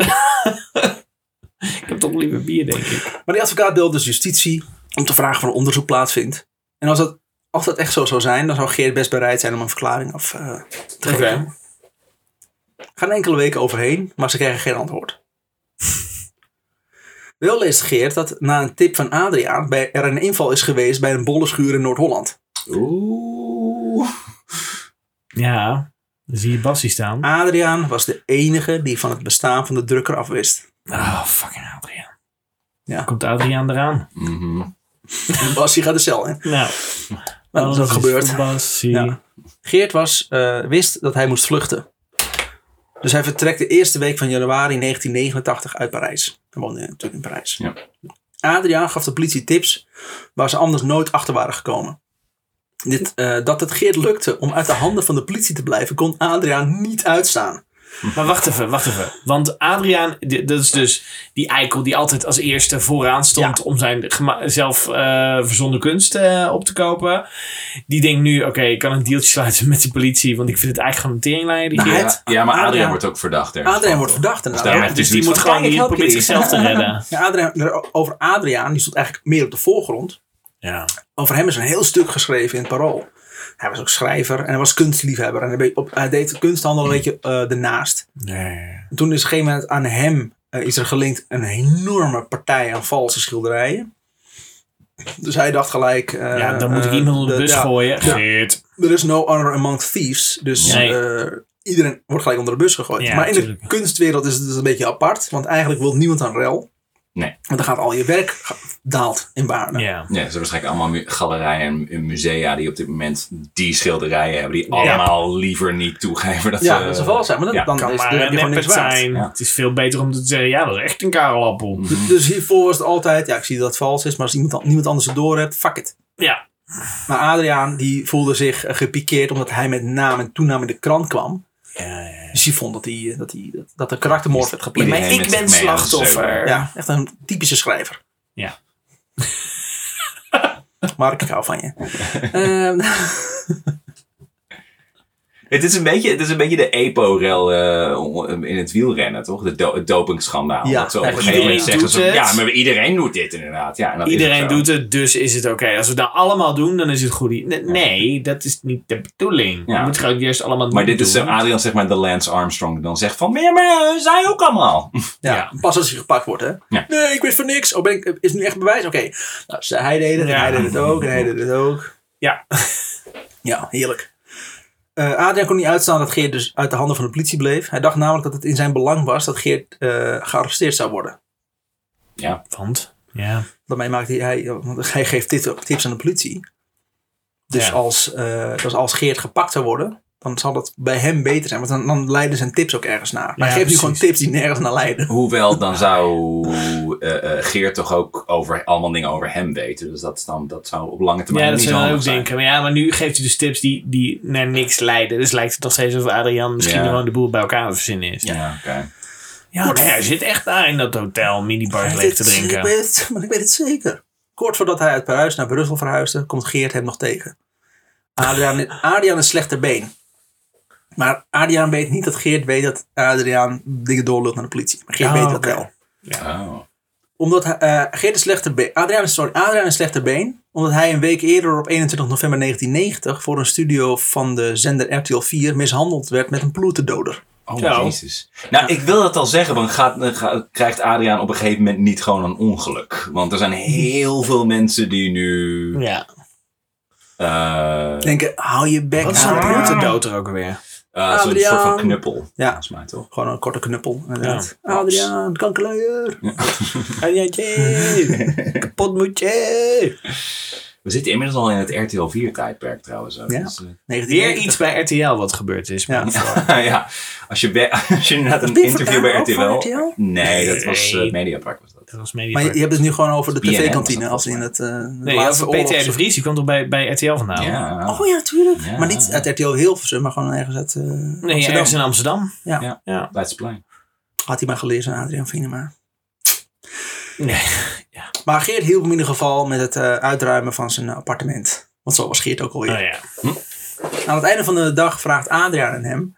Ik heb toch liever bier, denk ik. Maar die advocaat deelt dus justitie om te vragen of er een onderzoek plaatsvindt. En als dat, als dat echt zo zou zijn, dan zou Geert best bereid zijn om een verklaring af eh, te geven. Gaan enkele weken overheen, maar ze krijgen geen antwoord. Wel leest Geert dat na een tip van Adriaan bij, er een inval is geweest bij een bollenschuur in Noord-Holland. Oeh. Ja, dan zie je Bassie staan. Adriaan was de enige die van het bestaan van de drukker afwist. Oh, fucking Adriaan. Ja. Komt Adriaan eraan. Mhm. En Bas die gaat de cel in. Nou, Nou, dat is ook gebeurd. Bassie. Ja. Geert was, eh, wist dat hij moest vluchten. Dus hij vertrekt de eerste week van januari 1989 uit Parijs. Hij woonde natuurlijk in Parijs. Ja. Adriaan gaf de politie tips waar ze anders nooit achter waren gekomen. Dit, eh, dat het Geert lukte om uit de handen van de politie te blijven, kon Adriaan niet uitstaan. Maar wacht even, wacht even. Want Adriaan, di- dat is dus die eikel die altijd als eerste vooraan stond om zijn gema- zelf eh, verzonnen kunst eh, op te kopen. Die denkt nu, oké, ik kan een deeltje sluiten met de politie, want ik vind het eigenlijk gewoon een teringleier. Nou, die hij- gek. Het- Ja, ja, maar Adriaan Adriaan- wordt ook verdacht ergens. Adriaan van. wordt verdacht inderdaad. Daar- Ja, echt dus is die iets moet van, gewoon, kijk, ik die help probeert jullie. zichzelf te redden. Ja, Adriaan, over Adriaan, die stond eigenlijk meer op de voorgrond. Ja. Over hem is een heel stuk geschreven in het parool. Hij was ook schrijver en hij was kunstliefhebber. En hij, be- op, hij deed kunsthandel een beetje eh ernaast. Nee. En toen is op een gegeven moment aan hem eh, is er gelinkt een enorme partij aan valse schilderijen. Dus hij dacht gelijk... eh, Ja, dan moet ik eh, iemand op de bus ja, gooien. ja. Geert. Er is no honor among thieves. Dus Nee. eh, iedereen wordt gelijk onder de bus gegooid. Ja, maar in de tuurlijk. kunstwereld is het dus een beetje apart. Want eigenlijk wil niemand aan rel. Nee. Want dan gaat al je werk ga- daalt in waarde. Ja. Ja, er zijn waarschijnlijk allemaal mu- galerijen en mu- musea die op dit moment die schilderijen hebben. Die Ja. allemaal liever niet toegeven dat Ja, ze... dat is vals zijn. Maar dan, ja, dan Kan is, maar dan heb een je gewoon neppert niks waard. zijn. Ja. Het is veel beter om te zeggen, ja, dat is echt een karelappel. Mhm. D- Dus hiervoor was het altijd, ja, ik zie dat het vals is, maar als iemand, niemand anders het door hebt, fuck it. Ja. Maar Adriaan, die voelde zich eh, gepikeerd omdat hij met naam en toenaam in de krant kwam. Dus die vond dat, hij, eh, dat, hij, dat, dat er karaktermoord werd gepleegd. maar Iedereen ik met ben zich mee aan het slachtoffer. Ja, echt een typische schrijver. Ja. Mark, ik hou van je. Ehm, Het is een beetje, het is een beetje de EPO-rel eh, in het wielrennen, toch? De do- het dopingschandaal. Ja, dat ze op echt. een gegeven moment Iedereen zeggen ze, doet ja, het. maar iedereen doet dit inderdaad. Ja, en dat is Iedereen ook zo. doet het, dus is het oké. Als we het nou allemaal doen, dan is het goed. Nee, nee, dat is niet de bedoeling. Ja. Je moet gewoon eerst allemaal Maar dit doen. is zo Adrian, zeg maar, de Lance Armstrong die dan zegt van, meer maar eh, zij ook allemaal. ja, Ja. Pas als hij gepakt wordt, hè? Ja. Nee, ik wist van niks. Oh, ben ik, is het nu echt bewijs? Oké. Nou, ze- hij deed het, en Ja. hij deed het ook, en hij deed het ook. Ja. Ja, heerlijk. Eh Adriaan kon niet uitstaan dat Geert dus uit de handen van de politie bleef. Hij dacht namelijk dat het in zijn belang was dat Geert eh, gearresteerd zou worden. Want, ja. Daarmee maakt hij, hij, want hij geeft dit, tips aan de politie. Dus Ja. als, eh, dus als Geert gepakt zou worden, dan zal dat bij hem beter zijn. Want dan, dan leiden zijn tips ook ergens naar. Maar hij Ja, geeft nu precies. gewoon tips die nergens naar leiden. Hoewel, dan zou eh, eh, Geert toch ook over, allemaal dingen over hem weten. Dus dat, is dan, dat zou op lange termijn ja, dat niet zou zo je handig dan ook zijn. denken. Maar, ja, maar nu geeft hij dus tips die, die naar niks leiden. Dus lijkt het nog steeds of Adrian misschien Ja. gewoon de boel bij elkaar aan het verzinnen is. Ja, Ja, oké. maar hij zit echt daar in dat hotel minibars leeg te Ik drinken. weet het, maar ik weet het zeker. Kort voordat hij uit Parijs naar Brussel verhuisde, komt Geert hem nog tegen. Adriaan, Adriaan is slechter been. Maar Adriaan weet niet dat Geert weet dat Adriaan dingen doorlult naar de politie. Maar Geert Ah, weet dat oké. wel. Oh. Omdat hij- eh, Geert is slechter been. Adriaan is, sorry, Adriaan is slechter been. Omdat hij een week eerder op 21 november 1990 voor een studio van de zender RTL 4 mishandeld werd met een ploeterdoder. Oh, Zo. jezus. Nou, ik wil dat al zeggen, want gaat, eh, ga- krijgt Adriaan op een gegeven moment niet gewoon een ongeluk? Want er zijn heel veel mensen die nu... Ja. eh Denken, hou je bek nou Wat is een Adriaan. bloedendood er ook weer? eh, Zo'n soort Adriaan. van knuppel. Ja. Volgens mij toch? Gewoon een korte knuppel. inderdaad. Adriaan, kankerluier. Adriaantje, kapot moet je. We zitten inmiddels al in het RTL 4 tijdperk trouwens. ook. Ja. Dus, eh, 1990. Weer iets bij RTL wat gebeurd is. Ja. ja, als je, bij- als je inderdaad een die interview bij RTL... vandaan, ook van RTL? Nee, dat was Nee. eh, Mediapark was dat. Dat was media. Maar je, je hebt het nu gewoon over de BNN tv-kantine. was dat Als in het eh, Nee, laatste over oorlog. PTR de Vries, die kwam toch bij, bij RTL vandaan? Ja. Oh ja, natuurlijk. Ja. Maar niet uit RTL Hilversum, maar gewoon ergens uit eh Nee, Amsterdam. ergens in Amsterdam. Ja. Ja. ja. Leidseplein. Had hij maar gelezen aan Adriaan Vinema. Nee. Maar Geert hielp hem in ieder geval met het eh, uitruimen van zijn appartement. Want zo was Geert ook alweer. Oh, ja. Aan het einde van de dag vraagt Adriaan aan hem...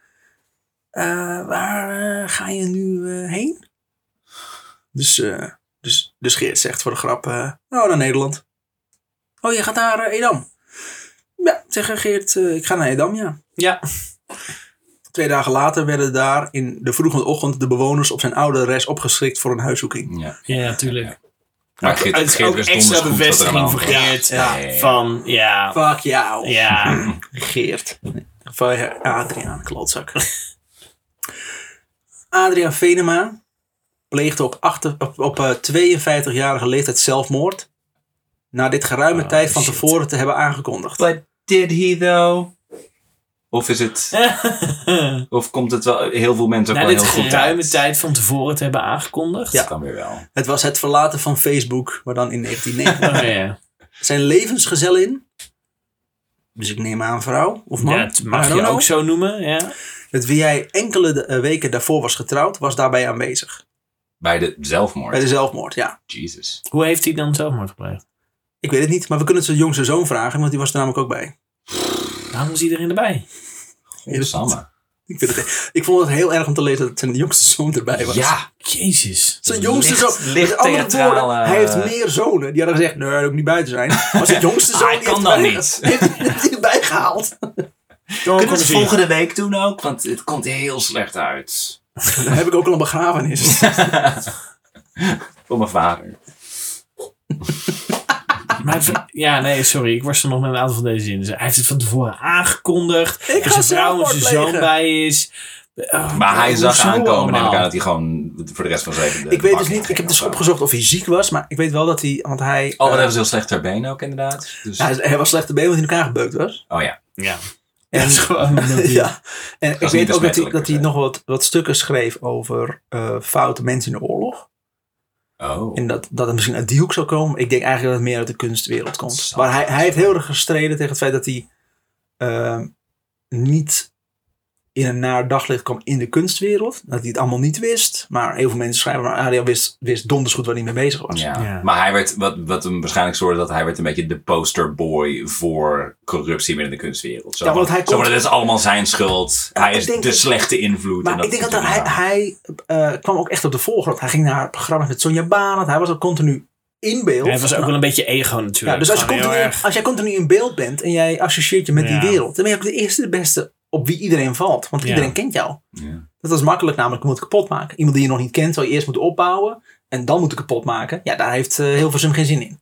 eh, waar eh, ga je nu eh, heen? Dus, eh, dus, dus Geert zegt voor de grap... eh, nou, naar Nederland. Oh, je gaat naar eh, Edam? Ja, zegt Geert. eh, ik ga naar Edam, ja. ja. Twee dagen later werden daar in de vroege ochtend... de bewoners op zijn oude res opgeschrikt voor een huiszoeking. Ja. Ja, natuurlijk. Maar Geert, Het is Geert ook wist extra donders goed wat er aan de bevestiging hand voor was. Geert. Ja. Ja, ja, ja. Van, ja, Fuck jou. ja. Geert. Van eh, Adriaan, klootzak. Adriaan Venema pleegde op, achter- op, op eh, 52-jarige leeftijd zelfmoord. Na dit geruime Ah, tijd van shit. tevoren te hebben aangekondigd. But did he though? Of is het... Of komt het wel heel veel mensen ook Na wel Nou, dit heel goed geruime uit? tijd van tevoren te hebben aangekondigd. Dat kan weer wel. Het was het verlaten van Facebook, maar dan in 1990. Oh, ja. Zijn levensgezel in. Dus ik neem aan vrouw of man. Ja, het I mag don't je know. ook zo noemen. Ja. Met wie hij enkele eh, weken daarvoor was getrouwd, was daarbij aanwezig. Bij de zelfmoord. Bij de zelfmoord, ja. Jesus. Hoe heeft hij dan zelfmoord gepleegd? Ik weet het niet, maar we kunnen het zijn jongste zoon vragen, want die was er namelijk ook bij. Waarom is iedereen erbij? Godsamme. Ik, vind het, e- ik vond het heel erg om te lezen dat zijn jongste zoon erbij was. Ja. Jezus. Zijn jongste Licht- zoon. licht Met andere theatrale- woorden, hij heeft meer zonen. Die hadden gezegd, nee, daar moet ik niet buiten zijn. Maar zijn jongste zoon Ah, die ik kan heeft dan erbij- niet. heeft- heeft hij erbij gehaald. Kunnen we het volgende week doen ook? Want het komt heel slecht uit. Dan heb ik ook al een begrafenis. Voor mijn vader. Maar hij heeft- ja, nee, sorry. Ik was er nog met een aantal van deze zinnen. Hij heeft het van tevoren aangekondigd. Ik Er ga zijn vrouw en zijn zelfmoord zoon plegen. bij is. Oh, Maar hij zag hoezo aankomen, neem ik allemaal? aan, dat hij gewoon voor de rest van zijn leven... de Ik weet bak dus in niet, ik ging heb of dus zo. opgezocht of hij ziek was, maar ik weet wel dat hij, want hij... Oh, en eh, hij was heel slecht ter been ook, inderdaad. Dus, hij, hij was slecht erbij omdat hij in elkaar gebeukt was. oh ja. Ja. En- Dat is gewoon omdat hij- ja. En ik niet weet ook dat hij, besmettelijk, dat hij hè? nog wat, wat stukken schreef over eh, foute mensen in de oorlog. Oh. En dat, dat het misschien uit die hoek zou komen. Ik denk eigenlijk dat het meer uit de kunstwereld komt. Zal Maar hij, wel hij heeft heel erg gestreden tegen het feit dat hij ehm, niet in een naar daglicht kwam in de kunstwereld. Dat hij het allemaal niet wist. Maar heel veel mensen schrijven, maar Ariel wist, wist donders goed waar hij mee bezig was. Ja. Ja. maar hij werd, wat, wat hem waarschijnlijk zorgde, dat hij werd een beetje de posterboy voor corruptie binnen de kunstwereld. Zo, Ja, ja, want hij komt- dat is allemaal zijn schuld. Ja, hij ik is denk de dat- slechte invloed. en Maar ik denk dat hij, hij eh, kwam ook echt op de voorgrond. Hij ging naar programma's met Sonja Barend. Hij was ook continu in beeld. Nou, Hij was ook wel een beetje ego Ja, natuurlijk. dus als, je Gewoon heel continu, erg- als jij continu in beeld bent en jij associeert je met Ja. die wereld, dan ben je ook de eerste de beste op wie iedereen valt. Want Ja. iedereen kent jou. Ja. Dat is makkelijk namelijk, je moet het kapot maken. Iemand die je nog niet kent, zou je eerst moeten opbouwen en dan moeten kapot maken. Ja, daar heeft eh, heel veel zin geen zin in.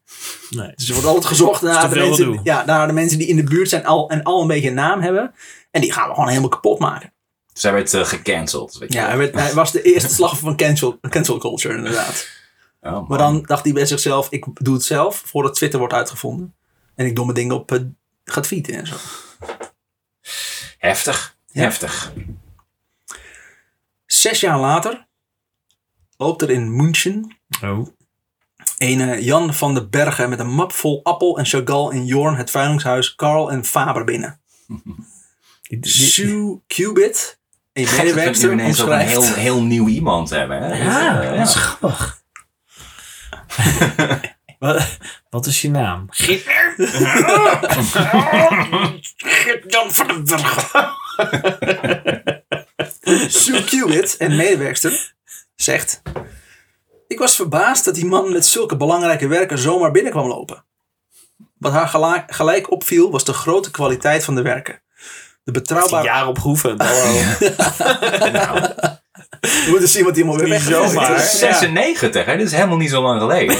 Nee. Dus er wordt altijd gezocht naar te de, veel mensen, gedoe. ja, naar de mensen die in de buurt zijn al, en al een beetje een naam hebben. En die gaan we gewoon helemaal kapot maken. Dus hij werd eh, gecanceld. Weet je Ja, wel. hij, werd- hij was de eerste slachtoffer van cancel, cancel culture inderdaad. Oh, man. Maar dan dacht hij bij zichzelf, ik doe het zelf voordat Twitter wordt uitgevonden. En ik domme dingen op eh, gaat tweeten en zo. Heftig. Ja. Heftig. Zes jaar later loopt er in München Oh. een eh, Jan van den Bergen met een map vol appel en Chagall in Jorn het veilingshuis Karl en Faber binnen. Die- Dus die- Sue Cubit, een Gek dat we nu medewerkster, ineens ook een omschrijft... heel, heel nieuw iemand hebben. Hè? Ja, Dus, eh, dat is grappig. wat, wat is je naam? Gitter? Jan van den Burg. Sue Cubit, een medewerkster, zegt... Ik was verbaasd dat die man met zulke belangrijke werken zomaar binnen kwam lopen. Wat haar gela- gelijk opviel was de grote kwaliteit van de werken. De betrouwbare... Jaar op Groeven. hallo. nou, We moeten zien wat die man weer Niet weggegeven zomaar. heeft. Ja. 96, hè? Dit is helemaal niet zo lang geleden.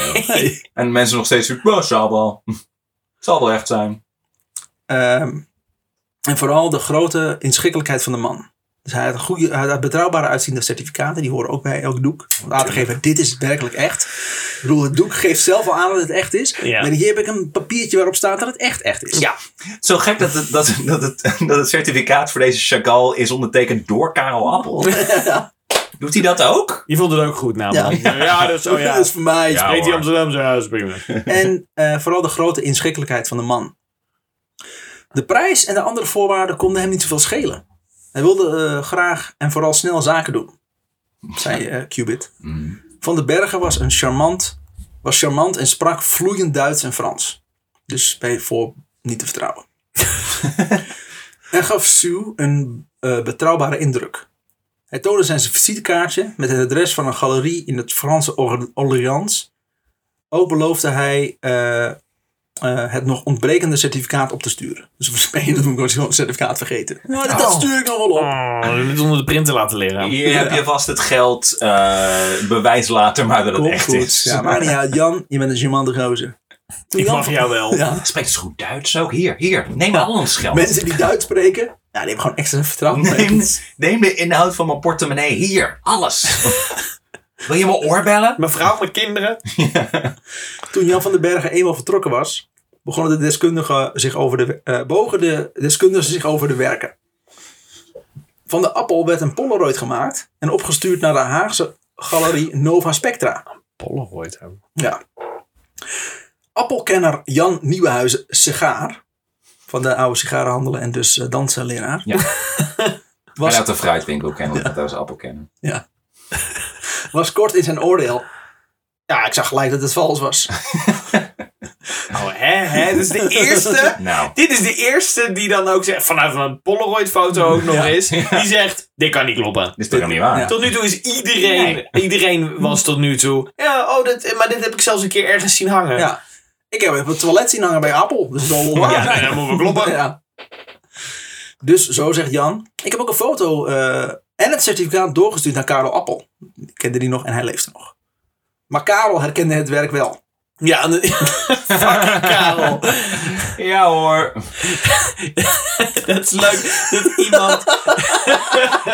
En mensen nog steeds, well, zal wel. Zal wel echt zijn. Ehm, en vooral de grote inschikkelijkheid van de man. Dus hij had, een goede, hij had betrouwbare uitziende certificaten. Die horen ook bij elk doek. Om aan te geven, dit is werkelijk echt. Ik bedoel, het doek geeft zelf al aan dat het echt is. Ja. Maar hier heb ik een papiertje waarop staat dat het echt echt is. Ja. Zo gek dat het, dat, dat, het, dat het certificaat voor deze Chagall is ondertekend door Karel Appel. Doet hij dat ook? Je vond het ook goed namelijk. Ja, dat is... Oh ja. dat is voor mij. Ja. Heet die hoor. Amsterdamse huis, prima. En eh, vooral de grote inschikkelijkheid van de man. De prijs en de andere voorwaarden konden hem niet zoveel schelen. Hij wilde eh, graag en vooral snel zaken doen, zei eh Cubit. Van den Bergen was, een charmant, was charmant en sprak vloeiend Duits en Frans. Dus bij voor niet te vertrouwen. en gaf Sue een eh, betrouwbare indruk. Hij toonde zijn visitekaartje met het adres van een galerie in het Franse Or- Orleans. Ook beloofde hij eh, eh, het nog ontbrekende certificaat op te sturen. Dus we spelen dat moet ik ook zo'n certificaat vergeten. Nou, dat Oh. stuur ik nog wel op. Oh, je moet onder de printer laten liggen. Hier heb je vast het geld. eh, bewijs later maar dat het Komt echt goed. is. Ja, maar niet uit. Jan, je bent een charmante gozer. Toen Ik Jan mag van- jou wel. Ja. Hij Spreekt dus goed Duits ook? Hier, hier. Neem al ons geld. Mensen die Duits spreken, nou, die hebben gewoon extra vertrouwen. Neem, neem de inhoud van mijn portemonnee. Hier, alles. Wil je mijn oor bellen? Mevrouw met kinderen. Toen Jan van den Bergen eenmaal vertrokken was, begonnen de deskundigen zich over de, eh, bogen de deskundigen zich over de werken. Van de appel werd een Polaroid gemaakt en opgestuurd naar de Haagse galerie Nova Spectra. Polaroid hebben. Ja. Appelkenner Jan Nieuwenhuizen Sigaar, van de oude sigarenhandelen en dus eh, dansenleraar. Ja. Was, Hij laat de fruitwinkel kennen, want daar is appel kennen. was kort in zijn oordeel. Ja, ik zag gelijk dat het vals was. Oh, hè, hè? Dit is de eerste. Nou, Dit is de eerste die dan ook zegt, vanuit een Polaroid-foto ook nog Ja. eens, die zegt: Dit kan niet kloppen. dit is toch helemaal niet waar? Ja. Tot nu toe is iedereen, iedereen was tot nu toe. Ja, oh, dit, maar dit heb ik zelfs een keer ergens zien hangen. Ja. Ik heb op het toilet zien hangen bij Appel. Dus dat is wel Ja, waar. nee, dat moet wel kloppen. Ja. Dus zo zegt Jan. Ik heb ook een foto eh, en het certificaat doorgestuurd naar Karel Appel. Ik kende die nog en hij leefde nog. Maar Karel herkende het werk wel. Ja, en de- fucking Karel. Ja hoor. Dat is leuk dat iemand.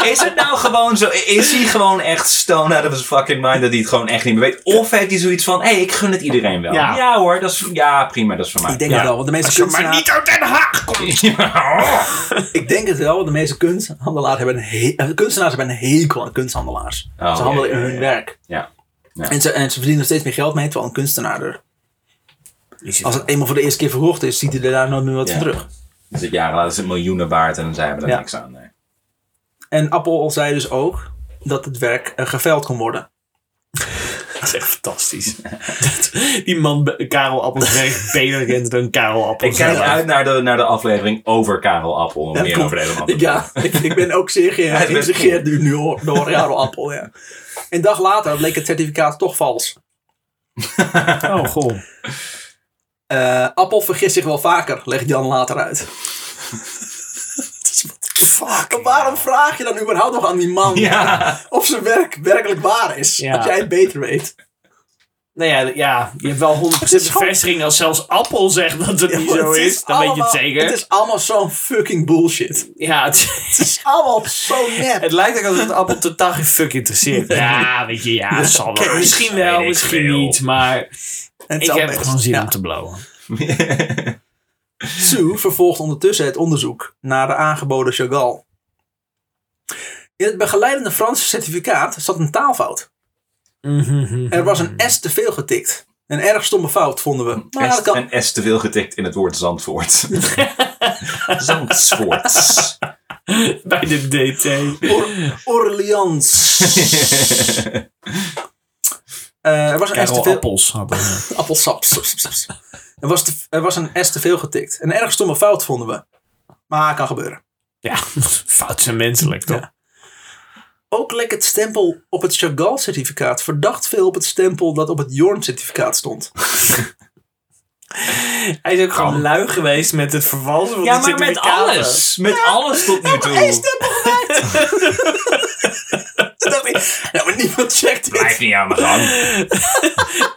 Is het nou gewoon zo? Is hij gewoon echt stone out of his fucking mind dat hij het gewoon echt niet meer weet? Of heeft hij zoiets van, hé, hey, ik gun het iedereen wel. Ja. Ja, hoor, dat is, ja prima, dat is voor mij. Ik denk Ja. het wel, want de meeste Als je maar kunstenaars... niet uit Den Haag komt. Ja. Ik denk het wel, want de meeste kunsthandelaars hebben een, he- eh, kunstenaars hebben een hekel aan kunsthandelaars. Oh, ze handelen ja, in ja, hun ja. werk. Ja. Ja. En, ze, en ze verdienen nog steeds meer geld mee, terwijl een kunstenaar er... Als het eenmaal voor de eerste keer verhoogd is, ziet hij er daar nooit meer wat Ja. van terug. Dus het jaren later is het miljoenen waard en dan zijn we er Ja. niks aan. Nee. En Appel zei dus ook dat het werk eh, geveild kon worden. Dat is echt fantastisch. Dat- Die man, be- Karel Appels, werkt beter kent dan Karel Appels. Ik kijk zelf. uit naar de, naar de aflevering over Karel Appel. Om Ja, meer klopt. over de hele man te praten. Ja, ik, ik ben ook zeer is best geïntrigeerd nu nu hoor, door Jaro Appel. Ja. Een dag later bleek het certificaat toch vals. Oh, goh. Eh, Appel vergist zich wel vaker, legt Jan later uit. Fuck. Maar waarom vraag je dan überhaupt nog aan die man Ja. of zijn werk werkelijk waar is? Ja. Als jij het beter weet. Nou ja, ja, je hebt wel 100% Het is gewoon- bevestiging als zelfs Appel zegt dat het niet Ja, zo het is. Dan weet je allemaal- het zeker. Het is allemaal zo'n fucking bullshit. Ja, het, Het is allemaal zo nep. het lijkt ook alsof het Appel totaal geen fuck interesseert. Ja, weet je, ja, zal wel. oké, Misschien wel, weet ik misschien veel. niet. Maar Het is ik heb allemaal- gewoon zin ja. om te blowen. Sue vervolgt ondertussen het onderzoek naar de aangeboden Chagall. In het begeleidende Franse certificaat zat een taalfout. Mhm, Er was een S te veel getikt. Een erg stomme fout, vonden we. Maar ja, S, dat kan. Een S te veel getikt in het woord Zandvoort. Zandvoort. Bij de DT. Or- Orleans. Eh, er was een S te Karel veel... Appels hadden we. Appelsap. Er was, te- er was een S te veel getikt. Een erg stomme fout, vonden we. Maar kan gebeuren. Ja, fout zijn menselijk, toch? Ook leek het stempel op het Chagall-certificaat verdacht veel op het stempel dat op het Jorn-certificaat stond. Hij is ook gewoon lui geweest met het vervalsen van die certificaten. Met alles tot nu toe. Toen dacht ik, nou, maar niemand checkt dit. Blijf niet aan de gang.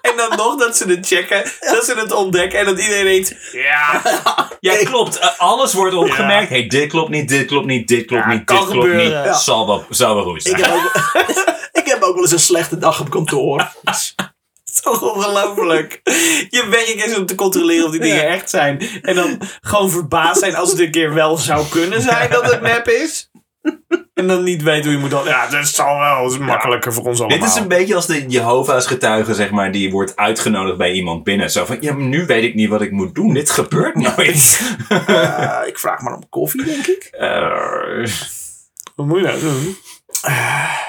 En dan nog dat ze het checken, dat ze het ontdekken en dat iedereen denkt... Ja, Ja, Hey. klopt. Eh, alles wordt opgemerkt. hey, dit klopt niet, dit klopt niet, dit klopt Ja, niet, kan dit klopt gebeuren. niet. Ja. Zal wel, zal wel goed Ik zijn. heb, ook, ik heb ook wel eens een slechte dag op kantoor. toch ongelooflijk. Je werk is om te controleren of die dingen Ja. echt zijn. En dan gewoon verbaasd zijn als het een keer wel zou kunnen zijn dat het nep is. En dan niet weten hoe je moet... dan- Ja, dat zal wel. Dat is makkelijker voor ons allemaal. Dit is een beetje als de Jehovah's getuige, zeg maar, die wordt uitgenodigd bij iemand binnen. Zo van, ja, maar nu weet ik niet wat ik moet doen. Dit gebeurt nooit. Eh, ik vraag maar om koffie, denk ik. Eh, Wat moet je nou doen?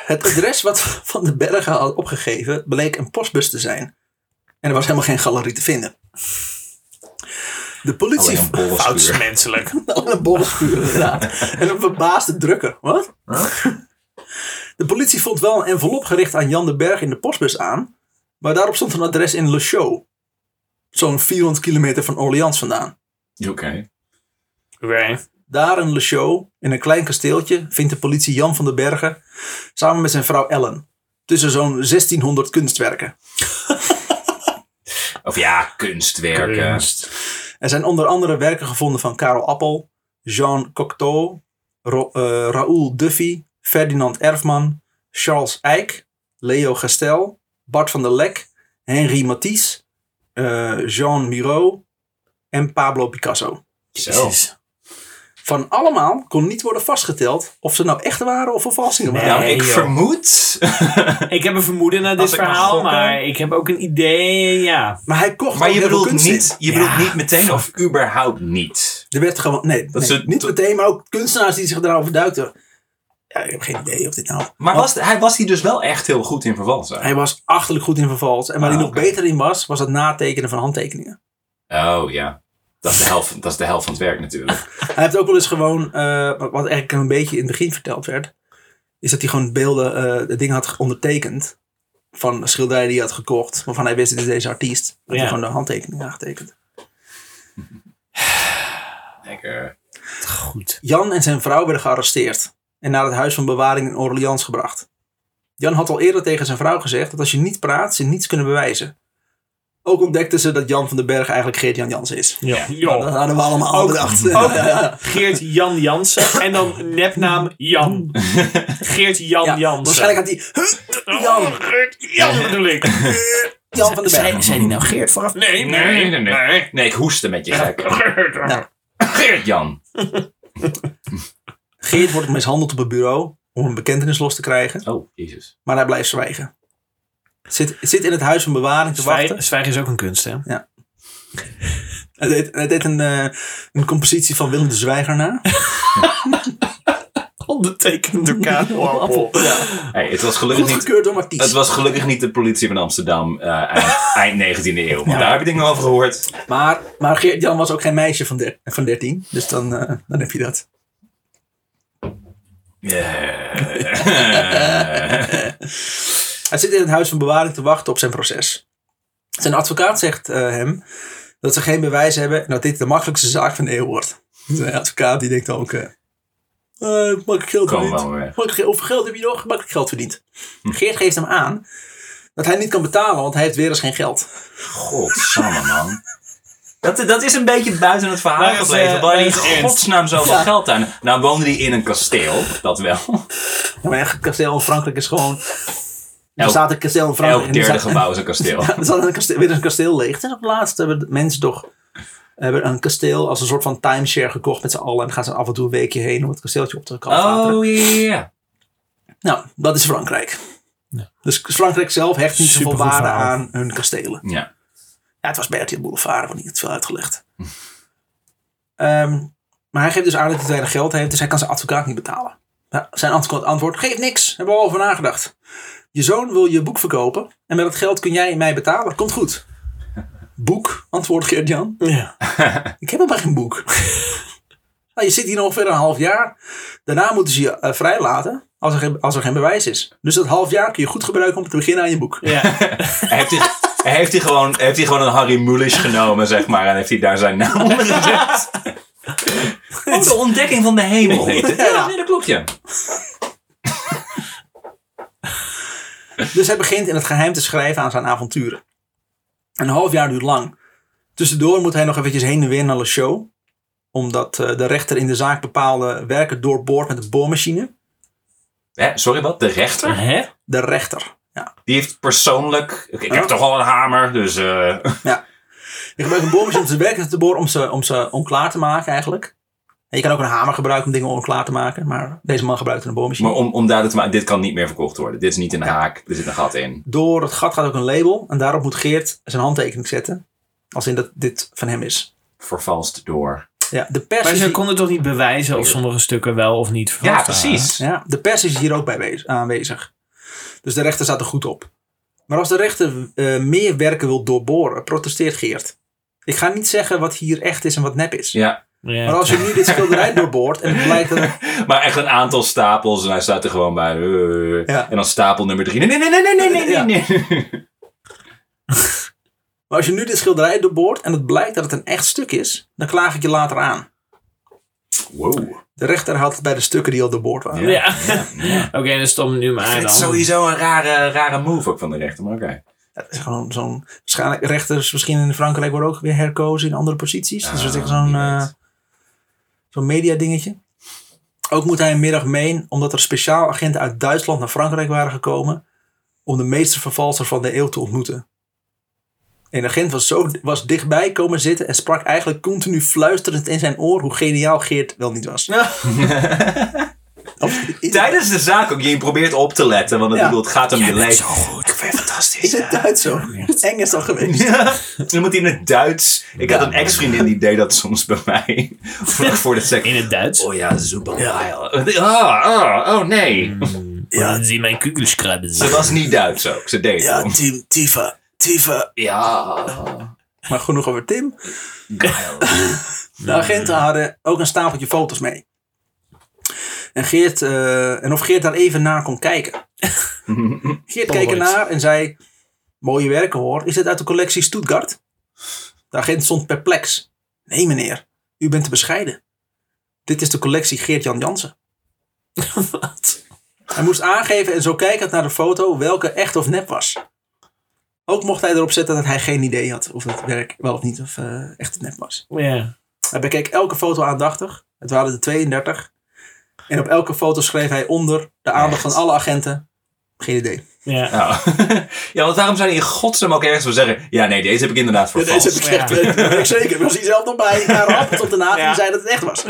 Het adres wat Van de Bergen had opgegeven bleek een postbus te zijn. En er was helemaal geen galerie te vinden. De politie... alleen oh, een Fout is borrelschuur. menselijk. Al een bolspuur, inderdaad. En een verbaasde drukker. Wat? Huh? De politie vond wel een envelop gericht aan Jan de Berg in de postbus aan. Maar daarop stond een adres in Le Chaux. Zo'n 400 kilometer van Orleans vandaan. Oké. Oké. Daar in Le Chaux, in een klein kasteeltje, vindt de politie Jan van den Bergen samen met zijn vrouw Ellen. Tussen zo'n 1600 kunstwerken. Of ja, kunstwerken. Kunst. Er zijn onder andere werken gevonden van Karel Appel, Jean Cocteau, Ro- eh, Raoul Duffy, Ferdinand Erfman, Charles Eyck, Leo Gestel, Bart van der Lek, Henri Matisse, eh, Jean Miro en Pablo Picasso. Zo. Jezus. Van allemaal kon niet worden vastgeteld of ze nou echt waren of vervalsingen waren. Nou, Nee, ik joh. vermoed. Ik heb een vermoeden naar dit Als ik mag verhaal, gokken. maar ik heb ook een idee, ja. Maar hij kocht maar ook je heel veel bedoelt kunst in. niet, je Ja, bedoelt niet meteen of überhaupt niet. Er werd gewoon, nee, Dat nee, ze- niet meteen, maar ook kunstenaars die zich daarover duikten. Ja, ik heb geen idee of dit nou... Maar was, hij was hier dus wel echt heel goed in vervalsen. Hij was achterlijk goed in vervals. En waar Ah, hij nog oké. beter in was, was het natekenen van handtekeningen. Oh ja. Dat is, de helft, dat is de helft van het werk natuurlijk. Hij heeft ook wel eens gewoon, eh, wat wat eigenlijk een beetje in het begin verteld werd, is dat hij gewoon beelden, eh de dingen had ondertekend van schilderijen die hij had gekocht, waarvan hij wist dat is deze artiest. Dat Ja. hij gewoon de handtekening aangetekend. Lekker. Goed. Jan en zijn vrouw werden gearresteerd en naar het huis van bewaring in Orleans gebracht. Jan had al eerder tegen zijn vrouw gezegd dat als je niet praat, ze niets kunnen bewijzen. Ook ontdekten ze dat Jan van den Berg eigenlijk Geert-Jan Jans is. Ja. Dat hadden we allemaal al Ook- bedacht. Ook Geert Jan Jansen en dan nepnaam Jan. Geert Jan Ja, Jansen. waarschijnlijk had hij... Oh, Jan. Dus Geert Jan bedoel ik. Jan van den Berg. zijn die nou Geert vooraf? Nee, nee, nee. nee. Nee, ik hoeste met je gek. Geert. Nou, Geert-Jan. Geert wordt mishandeld op het bureau om een bekentenis los te krijgen, Oh, jezus. maar hij blijft zwijgen. Zit, zit in het huis van bewaring te wachten. Zwij- Zwijgen is ook een kunst, hè? Hij deed, hij deed een, eh, een compositie van Willem de Zwijger na. Ondertekend door Karel Appel. Hey, het was gelukkig niet Goedgekeurd door Het Matisse. was gelukkig niet de politie van Amsterdam eh, eind, eind 19e eeuw. Want daar heb je dingen over gehoord. Maar, maar Geert-Jan was ook geen meisje van, der, van 13, dus dan, eh, dan heb je dat. Eh. Hij zit in het huis van bewaring te wachten op zijn proces. Zijn advocaat zegt eh, hem dat ze geen bewijs hebben en dat dit de makkelijkste zaak van de eeuw wordt. Zijn advocaat die denkt ook, eh eh, makkelijk geld Kom verdiend. wel weer. Hm. Makkelijk, geld- hoeveel geld heb je nog? Makkelijk geld verdiend. Geert geeft hem aan dat hij niet kan betalen, want hij heeft weer eens geen geld. Godsamme, man. Dat, dat is een beetje buiten het verhaal Waar is, eh, gebleven. Waar waar je in is Ernst? godsnaam zoveel Ja. geld aan. Nou woonde hij in een kasteel, dat wel. Ja, maar echt, het kasteel in Frankrijk is gewoon... Er Elk- staat een kasteel in Frankrijk. Elk en er derde staat- gebouw is een kasteel. Er staat een kasteel, weer een kasteel leeg. En op het laatst hebben de mensen toch hebben een kasteel als een soort van timeshare gekocht met z'n allen. En dan gaan ze af en toe een weekje heen om het kasteeltje op te kalfateren. Oh, ja, ja, ja. Nou, dat is Frankrijk. Dus Frankrijk zelf hecht niet zoveel Supergoed waarde verhaal. aan hun kastelen. Ja. Ja, het was Bertie de Boulevard, want niet het veel uitgelegd. Ehm, maar hij geeft dus aan dat hij te weinig geld heeft, dus hij kan zijn advocaat niet betalen. Nou, Zijn advocaat antwoordt, geeft niks, hebben we al over nagedacht. Je zoon wil je boek verkopen en met dat geld kun jij mij betalen, komt goed. Boek, antwoordt Geert-Jan. Ja. Ik heb helemaal geen boek. nou, je zit hier nog ongeveer een half jaar. Daarna moeten ze je eh, vrijlaten als er, geen, als er geen bewijs is. Dus dat half jaar kun je goed gebruiken om te beginnen aan je boek. ja. Hij Heeft hij, hij heeft hij gewoon, heeft hij gewoon een Harry Mulisch genomen, zeg maar. En heeft hij daar zijn naam onder gezet. Oh, de ontdekking van de hemel. heet het. Ja, nee, dat klopt, ja. Dus hij begint in het geheim te schrijven aan zijn avonturen. Een half jaar duurt lang. Tussendoor moet hij nog eventjes heen en weer naar de show. Omdat eh, de rechter in de zaak bepaalde werken doorboord met een boormachine. Hè, sorry, wat? De rechter? Hè? De rechter. Ja. Die heeft persoonlijk... Ik, ik heb Oh. toch al een hamer, dus... eh, Je gebruikt een boormachine om zijn werken te boren om ze, om ze onklaar te maken eigenlijk. En je kan ook een hamer gebruiken om dingen onklaar te maken. Maar deze man gebruikte een boormachine. maar om, om duidelijk te maken, dit kan niet meer verkocht worden. Dit is niet een haak, er zit een gat in. Door het gat gaat ook een label. En daarop moet Geert zijn handtekening zetten. Als in dat dit van hem is. Vervalst door... Ja, de pers Maar is ze hier- konden toch niet bewijzen of sommige stukken wel of niet vervalst Ja, waren? precies. Ja, de pers is hier ook bij wees- aanwezig. Dus de rechter staat er goed op. Maar als de rechter eh, meer werken wil doorboren, protesteert Geert. Ik ga niet zeggen wat hier echt is en wat nep is. Ja, Ja. Maar als je nu dit schilderij doorboort en het blijkt dat... maar echt een aantal stapels en hij staat er gewoon bij. eh, Ja. En dan stapel nummer drie. Nee, nee, nee, nee, nee, nee, Ja. nee. Maar als je nu dit schilderij doorboort en het blijkt dat het een echt stuk is, dan klaag ik je later aan. Wow. De rechter haalt het bij de stukken die al doorboord waren. Ja. Oké, dan stom nu maar aan Het dan. is sowieso een rare, rare move ook van de rechter, maar oké. Dat is gewoon zo'n... Waarschijnlijk rechters misschien in Frankrijk worden ook weer herkozen in andere posities. dus dat is echt zo'n... Ah, wie weet. eh, Zo'n mediadingetje. Ook moet hij een middag meen, omdat er speciaal agenten uit Duitsland naar Frankrijk waren gekomen. om de meestervervalser van de eeuw te ontmoeten. Een agent was, zo, was dichtbij komen zitten en sprak eigenlijk continu fluisterend in zijn oor hoe geniaal Geert wel niet was. Of- Tijdens de zaak ook. Je probeert op te letten, want het, Ja. ik bedoel, het gaat om je leven. goed. Ik vind het is fantastisch. het Duits zo? Eng is dat geweest. Ja, dan moet hij in het Duits. Ik had een ex-vriendin die deed dat soms bij mij. Vlak voor de seks. In het Duits. Oh ja, super. Ah, ah, oh nee. Ja, zie mijn kugels Ze was niet Duits ook. Ze deed het. Ja, om. Tim, Tifa, Tifa. Ja. Maar genoeg over Tim. Geil. De agenten hadden ook een stapeltje foto's mee. En, Geert, eh, en of Geert daar even naar kon kijken. Geert keek Polaroid. ernaar en zei... Mooie werken hoor. Is dit uit de collectie Stuttgart? De agent stond perplex. Nee meneer, u bent te bescheiden. Dit is de collectie Geert-Jan Jansen. Wat? Hij moest aangeven en zo kijkend naar de foto welke echt of nep was. Ook mocht hij erop zetten dat hij geen idee had of het werk wel of niet of, eh, echt of nep was. Ja. Hij bekeek elke foto aandachtig. Het waren er 32. En op elke foto schreef hij onder de aandacht Echt? van alle agenten. Geen idee. Ja. Ja. Oh. ja, want waarom zou hij in godsnaam ook ergens van zeggen... Ja, nee, deze heb ik inderdaad voor vals. ik echt, Ja. zeker. Was hij zelf nog bij? Hij rappelt op de naam Ja. en zei dat het echt was.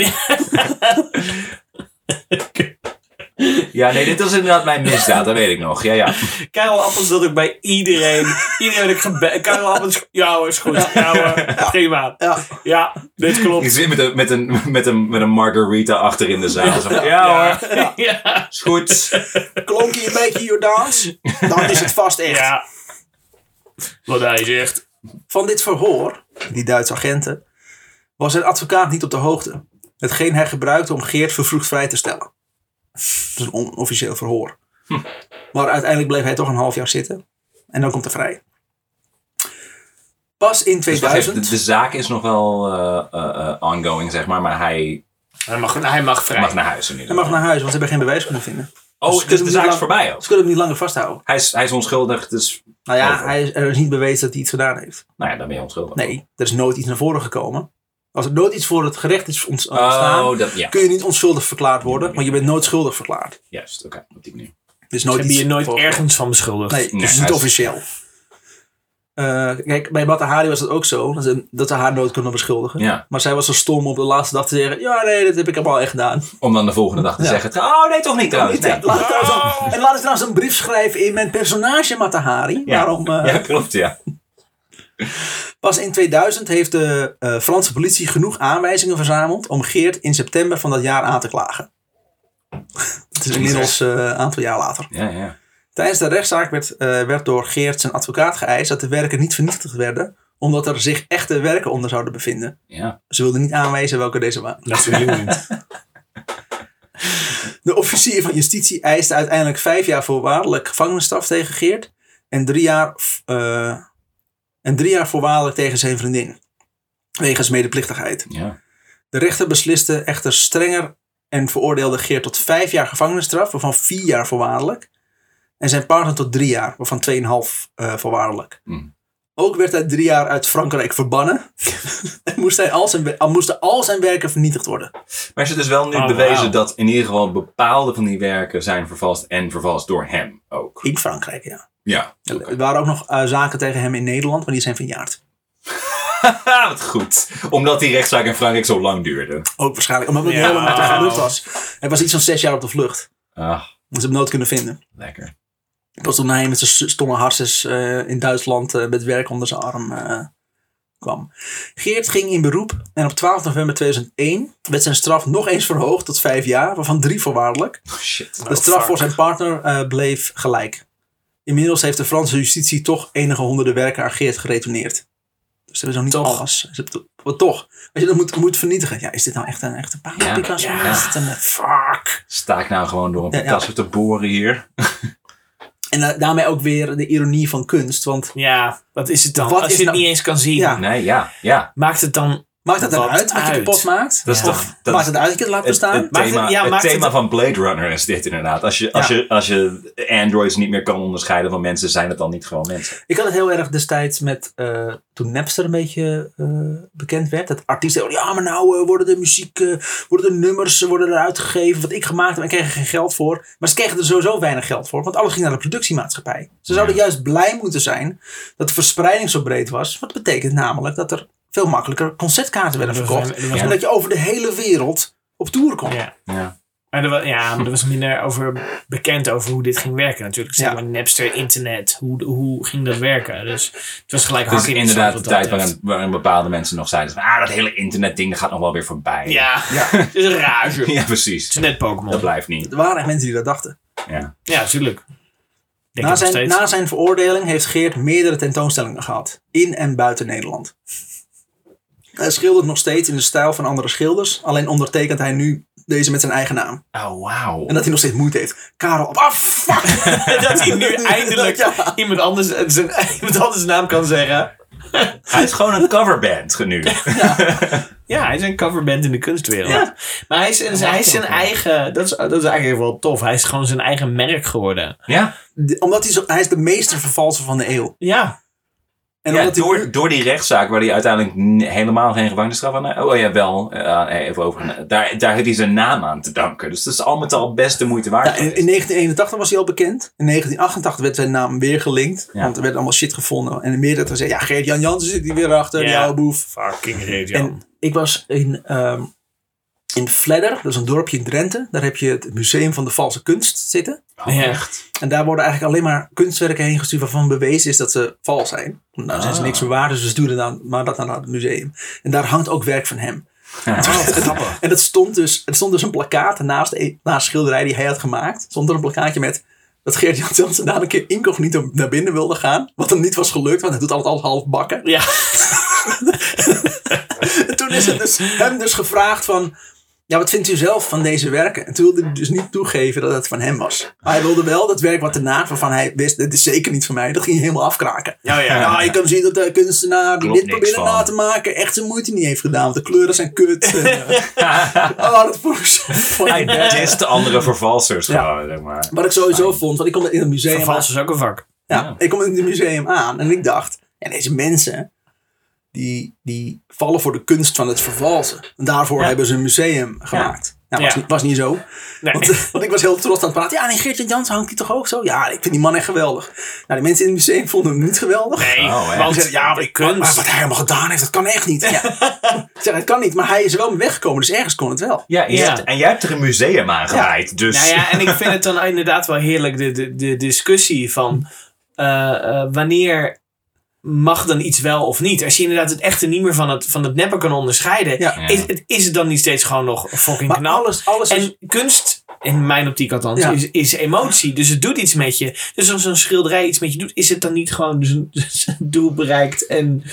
Ja, nee, dit was inderdaad mijn misdaad. Dat weet ik nog. Ja, ja. Karel Appels dat ook bij iedereen. iedereen dat ik gebe- Karel Appels. Ja hoor, is goed. Ja hoor, prima. Ja. Ja, dit Ik klopt. zit met een, met een, met een, met een margarita achter in de zaal. Zo van, ja hoor, Ja. Ja. is goed. Klonk hij een beetje Jordaans? Dan is het vast echt. ja. Wat hij zegt. Van dit verhoor, die Duitse agenten, was zijn advocaat niet op de hoogte. Hetgeen hij gebruikte om Geert vervroegd vrij te stellen. Dat is een onofficieel verhoor. Hm. Maar uiteindelijk bleef hij toch een half jaar zitten. En dan komt hij vrij. Pas in Dus wacht even, 2000... de, de zaak is nog wel eh, eh, eh, ongoing, zeg maar. Maar hij Hij mag, hij mag vrij. mag naar huis in hij ieder mag geval. naar huis, want ze hebben geen bewijs kunnen vinden. Oh, dus de zaak is voorbij ook. Ze kunnen hem niet langer vasthouden. Hij is, hij is onschuldig, dus... Nou ja, Over. hij is, er is niet bewezen dat hij iets gedaan heeft. Nou ja, dan ben je onschuldig. Nee, er is nooit iets naar voren gekomen. Als er nooit iets voor het gerecht is ont- ontstaan, Oh, dat, ja. kun je niet onschuldig verklaard worden. Maar je bent nooit schuldig verklaard. Juist, oké. op die manier. Dus Ze nooit hebben iets je nooit voor- ergens van beschuldigd. Nee, Nee, dus hij niet is- officieel. Eh, kijk, bij Matahari was dat ook zo. Dat ze, dat ze haar nooit konden beschuldigen. Ja, Maar zij was zo stom om op de laatste dag te zeggen... Ja, nee, dat heb ik allemaal echt gedaan. om dan de volgende dag te Ja. zeggen... Oh, nee, toch niet trouwens. Nee. Laat ik trouwens al- en laat ik trouwens een brief schrijven in mijn personage Matahari. Ja. Waarom, eh, Ja, klopt, ja. Pas in 2000 heeft de eh, Franse politie genoeg aanwijzingen verzameld... om Geert in september van dat jaar aan te klagen. Het is inmiddels eh, een aantal jaar later. Ja, ja. Tijdens de rechtszaak werd, eh, werd door Geert zijn advocaat geëist dat de werken niet vernietigd werden, omdat er zich echte werken onder zouden bevinden. ja. Ze wilden niet aanwijzen welke deze waren. natuurlijk niet. De officier van justitie eiste uiteindelijk vijf jaar voorwaardelijk gevangenisstraf tegen Geert en drie jaar, f- eh, en drie jaar voorwaardelijk tegen zijn vriendin, wegens medeplichtigheid. ja. De rechter besliste echter strenger en veroordeelde Geert tot vijf jaar gevangenisstraf, waarvan vier jaar voorwaardelijk. En zijn partner tot drie jaar, waarvan 2,5 eh voorwaardelijk. Mm. Ook werd hij drie jaar uit Frankrijk verbannen. en moest hij al zijn, al- moesten al zijn werken vernietigd worden. Maar is het dus wel nu Oh, bewezen wauw. dat in ieder geval bepaalde van die werken zijn vervalst en vervalst door hem ook? In Frankrijk, ja. Ja. Er waren ook nog eh, zaken tegen hem in Nederland, maar die zijn verjaard. Haha, wat goed. Omdat die rechtszaak in Frankrijk zo lang duurde. Ook waarschijnlijk, omdat hij Ja. helemaal met de vlucht was. Hij was iets van zes jaar op de vlucht. Dat Ah, ze hebben hem nooit kunnen vinden. lekker. Pas toen hij met zijn stomme harses eh, in Duitsland eh, met werk onder zijn arm eh, kwam. Geert ging in beroep en op 12 november 2001 werd zijn straf nog eens verhoogd tot vijf jaar, waarvan drie voorwaardelijk. Oh, shit. de straf fuck. voor zijn partner eh, bleef gelijk. Inmiddels heeft de Franse justitie toch enige honderden werken aan Geert geretourneerd. Dus dat is nog niet Toch. alles. Ze hebben to- Wat toch? Als je dat moet, moet vernietigen. Ja, is dit nou echt een echte paal? Ja, Picasso? ja. Is dit een, eh, fuck. Sta ik nou gewoon door een Ja, ja. Picasso te boren hier? En eh, daarmee ook weer de ironie van kunst. Want Ja, wat is het dan? Wat Als is je het nou- niet eens kan zien, Ja. Nee, ja, ja. maakt het dan Maakt het Wat eruit uit wat je uit? kapot maakt? Dat is Ja. toch... dat Maakt het uit dat je het laat Het, bestaan? het Maakt het- thema, ja, het maakt het- thema van Blade Runner is dit inderdaad. Als je, als, Ja. je, als je androids niet meer kan onderscheiden van mensen, zijn het dan niet gewoon mensen. Ik had het heel erg destijds met, eh, toen Napster een beetje eh, bekend werd. Dat artiesten, zeiden, ja maar nou eh, worden de muziek, eh, worden de nummers eh, worden eruit gegeven. Wat ik gemaakt heb en kregen er geen geld voor. Maar ze kregen er sowieso weinig geld voor. Want alles ging naar de productiemaatschappij. Ze zouden juist blij moeten zijn dat de verspreiding zo breed was. Wat betekent namelijk dat er veel makkelijker concertkaarten werden verkocht. Er was- En dat je over de hele wereld op tour kon. Ja. Ja. Maar er was, ja, maar er was minder over bekend over hoe dit ging werken natuurlijk. Zeg Ja. maar Napster, internet, hoe, hoe ging dat werken? Dus het was gelijk Het is hak in zand inderdaad de wat tijd dat waarin, waarin bepaalde mensen nog zeiden: van, ah, dat hele internetding dat gaat nog wel weer voorbij. betreft. Ja, Ja. het is een rage. Het ja precies. is net Dat Pokémon. blijft niet. Er waren echt mensen die dat dachten. Ja. Ja, natuurlijk. Denk Na ik nog zijn, steeds. na zijn veroordeling heeft Geert meerdere tentoonstellingen gehad. In en buiten Nederland. Hij schildert nog steeds in de stijl van andere schilders. Alleen ondertekent hij nu deze met zijn eigen naam. Oh, wauw. En dat hij nog steeds moeite heeft. Karel op. Ah, fuck! dat hij nu eindelijk Ja. iemand, anders, zijn, iemand anders naam kan zeggen. Hij is gewoon een coverband nu. Ja, hij is een coverband in de kunstwereld. Ja. Maar hij is, hij is zijn eigen... Dat is, dat is eigenlijk wel tof. Hij is gewoon zijn eigen merk geworden. Ja, De- Omdat hij, zo, hij is de meester vervalser van de eeuw. Ja, En ja omdat hij door, door die rechtszaak waar hij uiteindelijk n- helemaal geen gevangenisstraf aan Oh ja, wel. eh, even over. Daar, daar heeft hij zijn naam aan te danken. Dus dat is al met al best de moeite waard. Ja, in, geweest. in 1981 was hij al bekend. In 1988 werd zijn naam weer gelinkt. Ja. Want er werd allemaal shit gevonden. En de meerdere gezegd, ja, Geert-Jan Jansen zit hier weer achter. Ja. Die oude boef. fucking reet, En ik was in, ehm in Fledder, dat is een dorpje in Drenthe. Daar heb je het Museum van de Valse Kunst zitten. Ja. echt. En daar worden eigenlijk alleen maar kunstwerken heen gestuurd waarvan bewezen is dat ze vals zijn. Nou zijn ze Ah. niks meer waard, dus we sturen dan maar dat dan naar het museum. En daar hangt ook werk van hem. grappig. En dat stond dus, er stond dus een plakkaat naast, een- naast een schilderij die hij had gemaakt. Stond er een plakkaatje met dat Geert-Jan Jansen daar een keer incognito naar binnen wilde gaan. Wat hem niet was gelukt, want hij doet altijd alles half bakken. Ja, En toen is het dus, hem dus gevraagd van... Ja, wat vindt u zelf van deze werken? En toen wilde hij dus niet toegeven dat het van hem was. Maar hij wilde wel dat werk wat erna, waarvan hij wist, dit is zeker niet van mij, dat ging hij helemaal afkraken. ja, ja. Ja, je kan zien dat de kunstenaar die Klopt dit niks probeerde van. na te maken echt zijn moeite niet heeft gedaan. Want de kleuren zijn kut. En, eh, oh, dat vond ik zo Hij fijn. dist de andere vervalsers Ja. gewoon, zeg maar. Wat ik sowieso vond, want ik kom in het museum aan. Vervals is ook een vak. Ja, Ja. ik kom in het museum aan en ik dacht, en deze mensen, die, die vallen voor de kunst van het vervalsen. En daarvoor Ja. hebben ze een museum gemaakt. Ja, was, Ja. Niet, was niet zo. Nee. Want, eh, want ik was heel trots aan het praten. Ja, nee, Geertje Jans hangt die toch ook zo? Ja, ik vind die man echt geweldig. Nou, de mensen in het museum vonden hem niet geweldig. Nee, Oh, hè. want Ze zeiden, ja, maar kunst. Maar wat hij allemaal gedaan heeft, dat kan echt niet. Ja. Ik zeg, dat kan niet, maar hij is er wel mee weggekomen, dus ergens kon het wel. Ja, je Ja. hebt- en jij hebt er een museum aan gewijd, dus... Nou ja, en ik vind het dan inderdaad wel heerlijk, de, de, de discussie van eh, eh, wanneer mag dan iets wel of niet. Als je inderdaad het echte niet meer van het, van het neppen kan onderscheiden, Ja. Ja. is, het, is het dan niet steeds gewoon nog fucking Maar knap? alles, alles is- En kunst, in mijn optiek althans, Ja. is, is emotie. Dus het doet iets met je. Dus als een schilderij iets met je doet, is het dan niet gewoon zijn zijn doel bereikt en...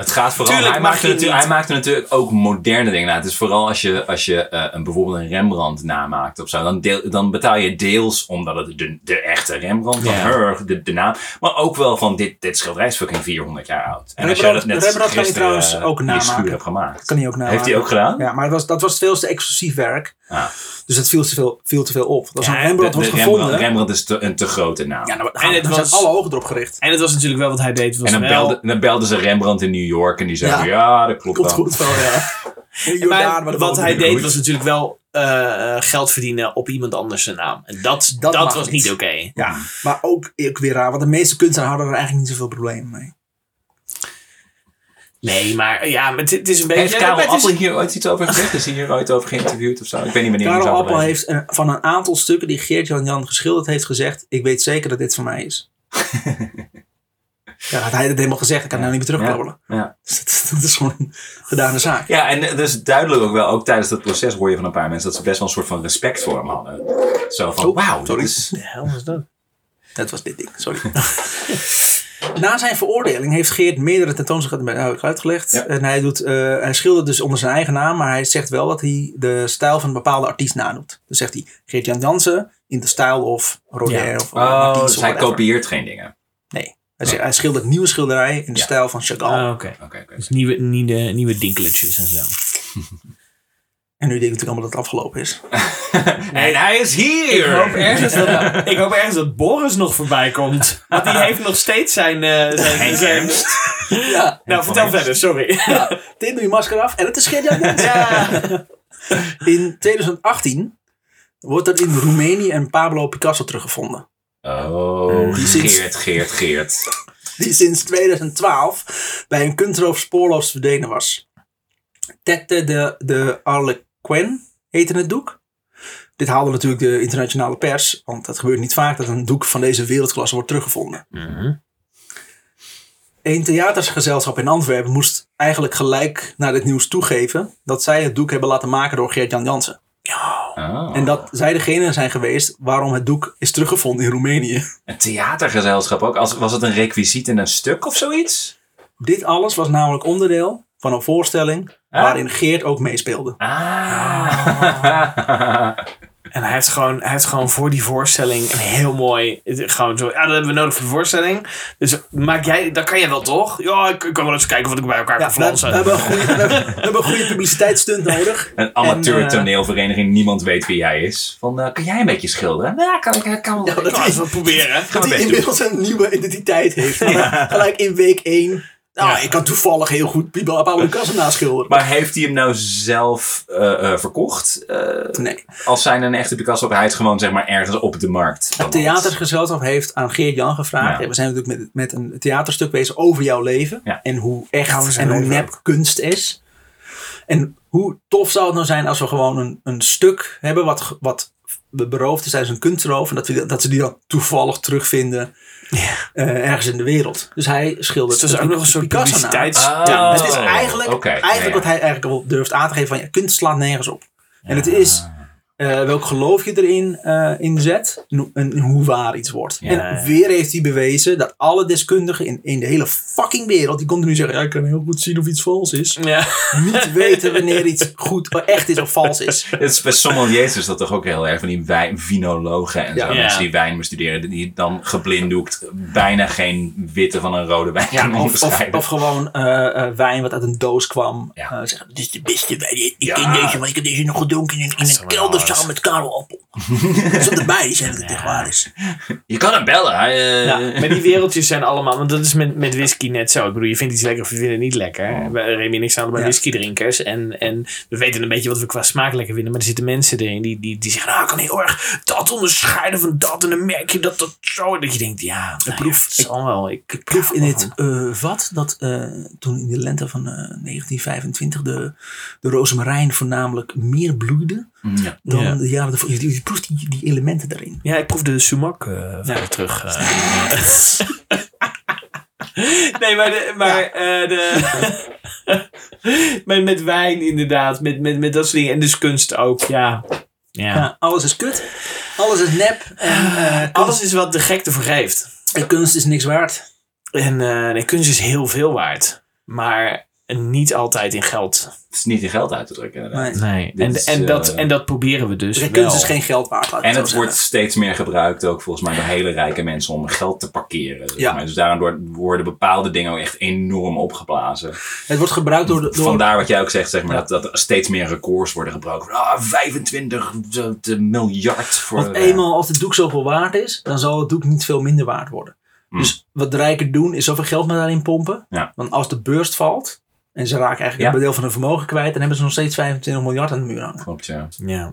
Het gaat vooral. Tuurlijk hij, mag maakte je natuurlijk, niet. hij maakte natuurlijk ook moderne dingen. Nou, het is vooral als je, als je eh, een, bijvoorbeeld een Rembrandt namaakt of zo. Dan, deel, dan betaal je deels omdat het de, de echte Rembrandt van Ja. Hurg, de, de naam. Maar ook wel van dit, dit schilderij is fucking 400 jaar oud. En als jij dat Rembrandt- net Rembrandt kan je gisteren trouwens eh, ook in je schuur namaken. hebt gemaakt. Kan hij ook namaken. Heeft hij ook gedaan? Ja, maar het was, dat was veel te exclusief werk. Ja. Dus dat viel te veel, viel te veel op. Dat was Ja, een Rembrandt De- wordt de gevonden. Rembrandt, Rembrandt is te- een te grote naam. Ja, nou, En het dan was- zijn alle ogen erop gericht. En het was natuurlijk wel wat hij deed. Was en dan wel- belden dan belden ze Rembrandt in New York en die zeiden: Ja. Ja, dat klopt. Komt wel. goed wel, ja. In Jordaan, maar Maar dat wat wel hij goed. deed was natuurlijk wel eh, eh, geld verdienen op iemand anders zijn naam. En dat, Dat dat, mag was niet. niet oké. Ja, maar ook, ook weer raar, want de meeste kunstenaars hadden er eigenlijk niet zoveel problemen mee. Nee, maar ja, maar het, het is een beetje... Heeft ja, Karel het is- dus- Appel hier ooit iets over gezegd? Is hij hier ooit over geïnterviewd of zo? Ik weet niet wanneer hij Karel is Appel overleden. heeft eh, van een aantal stukken die Geert-Jan Jan geschilderd heeft gezegd... Ik weet zeker dat dit van mij is. ja, had hij dat helemaal gezegd, dan kan hij nou niet meer terugkomen. Ja. Dus dat, dat is gewoon een gedane zaak. Ja, en eh, dus duidelijk ook wel, ook tijdens dat proces hoor je van een paar mensen dat ze best wel een soort van respect voor hem hadden. Zo van, Oh, wauw, dat sorry. is... De hel is dat? Dat was dit ding, sorry. Na zijn veroordeling heeft Geert meerdere tentoonstellingen heb ik uitgelegd. Ja. En hij, doet, eh, hij schildert dus onder zijn eigen naam, maar hij zegt wel dat hij de stijl van een bepaalde artiest nadoet. Dan zegt hij Geert-Jan Jansen in de stijl of Roder Ja. Oh, of Matisse dus of hij whatever. kopieert geen dingen. Nee, Hij, zegt- hij schildert nieuwe schilderijen in de Ja. stijl van Chagall. Ah, oké. Oké, oké. Dus nieuwe, nieuwe, nieuwe dinkeletjes en zo. En nu denk ik natuurlijk allemaal dat het afgelopen is. En hij is Ik hier! hoop, ergens dat, ik hoop ergens dat Boris nog voorbij komt. Want die heeft nog steeds zijn... eh zijn, zijn- Ja. nou, vertel verder, sorry. Dit doe je masker af en het is geen Ja. In 2018 wordt er in Roemenië een Pablo Picasso teruggevonden. Oh, Die zit- Geert, Geert, Geert. Die sinds 2012 bij een kunstroof spoorloos verdwenen was. Tette de, de Arlequin heette het doek. Dit haalde natuurlijk de internationale pers, want het gebeurt niet vaak dat een doek van deze wereldklasse wordt teruggevonden. Een theatersgezelschap in Antwerpen moest eigenlijk gelijk naar dit nieuws toegeven dat zij het doek hebben laten maken door Geert-Jan Jansen. Oh. En dat zij degene zijn geweest waarom het doek is teruggevonden in Roemenië. Een theatergezelschap ook. Als, was het een requisiet in een stuk of zoiets? Dit alles was namelijk onderdeel van een voorstelling Ah. waarin Geert ook meespeelde. Ah. En hij heeft, gewoon, hij heeft gewoon voor die voorstelling een heel mooi. het- Gewoon zo, ja, dat hebben we nodig voor de voorstelling. Dus maak jij, dat kan jij wel toch? Ja, ik, ik kan wel eens kijken of ik bij elkaar Ja, kan we, we flansen. hebben een goede, we hebben- we hebben een goede publiciteitsstunt nodig. eh, Een amateur toneelvereniging, niemand weet wie jij is. Van, eh, kan jij een beetje schilderen? Nou, kan ik, kan wel. Ja, dat Ik kan is- even proberen. Ga mijn Dat hij best doen. inmiddels een nieuwe identiteit heeft. Gelijk in week 1. Nou, Ja. ik kan toevallig heel goed Pablo Pablo Picasso naschilderen. Maar heeft hij hem nou zelf eh, eh, verkocht? Eh, Nee. als zijn een echte Picasso, hij is gewoon zeg maar ergens op de markt. Het theatergezelschap heeft aan Geert Jan gevraagd. Ja. We zijn natuurlijk met, met een theaterstuk bezig over jouw leven. Ja. En hoe Over echt zijn en hoe leven nep kunst is. En hoe tof zou het nou zijn als we gewoon een, een stuk hebben wat, ge- wat be- beroofd is tijdans een kunstroof. En dat, we, dat ze die dan toevallig terugvinden eh, ergens in de wereld. Dus hij schildert Dus dat is een ook nog een soort Picasso na. publiciteits. Ah. Ja, Het is Oh, eigenlijk, oké. eigenlijk Ja, ja. wat hij eigenlijk wel durft aan te geven van ja, kunst slaat nergens op. En het is eh, welk geloof je erin eh, in zet en hoe- en hoe waar iets wordt. en ja. weer heeft hij bewezen dat alle deskundigen in, in de hele fucking wereld, die continu zeggen, ja, ik kan heel goed zien of iets vals is, ja. niet weten wanneer iets goed of echt is of vals is. Het is bij sommeliers is dat toch ook heel erg van die wijn, vinologen en zo. Ja. Mensen Ja. die wijn bestuderen, die dan geblinddoekt bijna geen witte van een rode wijn kunnen of, of, onderscheiden. of gewoon eh, eh, wijn wat uit een doos kwam. Ja. Eh, zeggen, dit is de beste wijn. Ik Ja. ken deze, maar ik heb deze nog gedronken in, in een wel kelder waar. samen met Karel Appel. Zonder erbij die zei dat het echt waar is. Je kan hem bellen. Hij, eh, Ja, maar die wereldjes zijn allemaal, want dat is met, met whisky net zo. Ik bedoel, je vindt iets lekker of je vindt het niet lekker. We- Remy en ik zijn allebei Ja. whiskydrinkers. En, en we weten een beetje wat we qua smaak lekker vinden. Maar er zitten mensen erin die, die, die zeggen, nou, ik kan heel erg dat onderscheiden van dat. En dan merk je dat dat zo. Dat je denkt, ja, nou, proef- ja, het zal wel. Ik, Ik proef in het eh, vat dat eh, toen in de lente van eh, 1925 de, de rozemarijn voornamelijk meer bloeide ja. dan Ja. de jaren ervoor. Je, je- je proeft die, die elementen daarin. Ja, ik proef de sumac eh, verder terug. eh. nee, maar, de, maar, eh, de maar met wijn inderdaad. Met, met, met dat soort dingen. En dus kunst ook, ja. Ja. Ja, alles is kut, alles is nep en eh, kunst, Alles is wat de gekte voor geeft. en kunst is niks waard. En eh, nee, kunst is heel veel waard. Maar niet altijd in geld. Het is niet in geld uit te drukken inderdaad. Nee. Nee. Dit En, is, en, dat, eh, en dat proberen we dus wel. kunst is geen geld waard. laat ik En het zo wordt zeggen. steeds meer gebruikt ook volgens mij door hele rijke mensen om geld te parkeren. zeg Ja. maar. Dus daardoor worden bepaalde dingen ook echt enorm opgeblazen. het wordt gebruikt door, de- door Vandaar wat jij ook zegt, zeg maar, dat, dat er steeds meer records worden gebroken. Ah, 25 miljard voor... Want eh, eenmaal als het doek zoveel waard is, dan zal het doek niet veel minder waard worden. Hmm. Dus wat de rijken doen, is zoveel geld maar daarin pompen. Ja. Want als de beurs valt en ze raken eigenlijk Ja. een deel van hun vermogen kwijt, dan hebben ze nog steeds 25 miljard aan de muur hangen. Klopt, ja. Ja. Ja.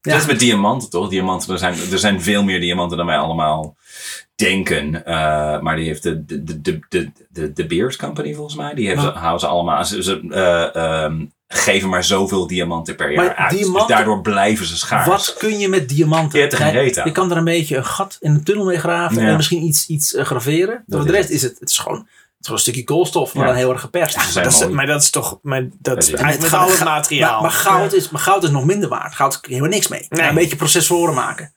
Dat is met diamanten, toch? Diamanten, er zijn, er zijn veel meer diamanten dan wij allemaal denken. Eh, maar die heeft de, de, de, de, de, de, de Beers Company, volgens mij. Die heeft, Ja. houden ze allemaal... Ze, ze, eh, ehm, geven maar zoveel diamanten per jaar Maar uit. diamanten- Dus daardoor blijven ze schaars. Wat kun je met diamanten? Je hebt er geen Kijk, reet aan. je kan er een beetje een gat in een tunnel mee graven Ja. en misschien iets, iets eh, graveren. Maar Dat voor is de rest is het, het is gewoon, het is gewoon een stukje koolstof, maar Ja. dan heel erg geperst. Ze zijn Dat is, mooi. maar dat is toch... Maar dat is Ja, eigenlijk met met al het ga- materiaal. Maar, maar goud is, maar goud is nog minder waard. Goud kun je helemaal niks mee. Nee. Een beetje processoren maken.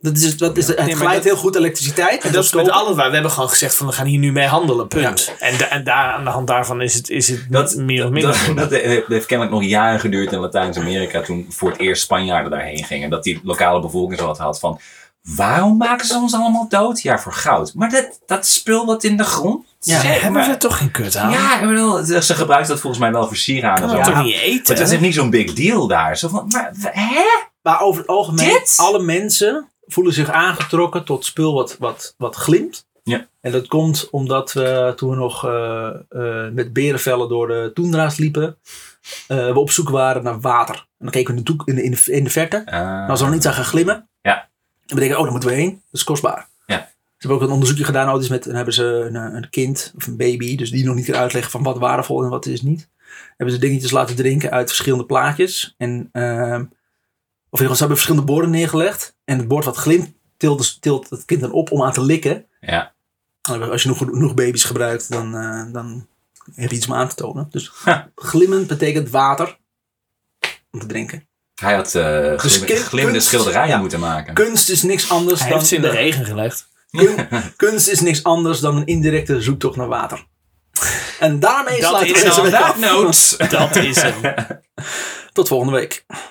Dat is, dat is, het maar glijdt dat- heel goed elektriciteit. En dat is met alle waar. We hebben gewoon gezegd van we gaan hier nu mee handelen, punt. En, da- en daar, aan de hand daarvan is het, is het Dat- meer of minder. Dat, dat heeft heeft kennelijk nog jaren geduurd in Latijns-Amerika toen voor het eerst Spanjaarden daarheen gingen. Dat die lokale bevolking zo wat had van. Waarom maken ze ons allemaal dood? Ja, voor goud. Maar dat, dat spul wat in de grond Ja, Ze zit, hebben maar- we toch geen kut aan? Ja, ik bedoel, ze gebruikt dat volgens mij wel voor sieraden. Kan en we zo. toch Maar niet eten? dat is echt niet zo'n big deal daar. Zo van, maar, hè? Maar over het algemeen, Dit? alle mensen voelen zich aangetrokken tot spul wat, wat, wat glimt. Ja. En dat komt omdat we toen we nog eh, eh, met berenvellen door de toendra's liepen, eh, we op zoek waren naar water. En dan keken we in de, doek- in de, in de, in de verte. En als er nog niets aan gaan glimmen, Eh, Ja. dan bedenken we, oh, daar moeten we heen. Dat is kostbaar. Ja. Ze hebben ook een onderzoekje gedaan, ooit eens met, dan hebben ze een, eh, een kind of een baby, dus die nog niet kan uitleggen van wat waardevol en wat is niet. Hebben ze dingetjes laten drinken uit verschillende plaatjes. En, ehm, of in ieder geval, ze hebben verschillende borden neergelegd. En het bord wat glimt, tilt, dus- tilt het kind dan op om aan te likken. Ja. En Als je nog genoeg baby's gebruikt, dan, eh, dan heb je iets om aan te tonen. Dus Ha. glimmen betekent water om te drinken. Hij had eh glim, kun- glimmende kunst- schilderijen ja. moeten maken. Kunst is niks anders Hij dan... heeft ze in de de- regen gelegd. Kun- kunst is niks anders dan een indirecte zoektocht naar water. En daarmee Dat sluiten we is deze dan week af. Notes. Dat is hem. Tot volgende week.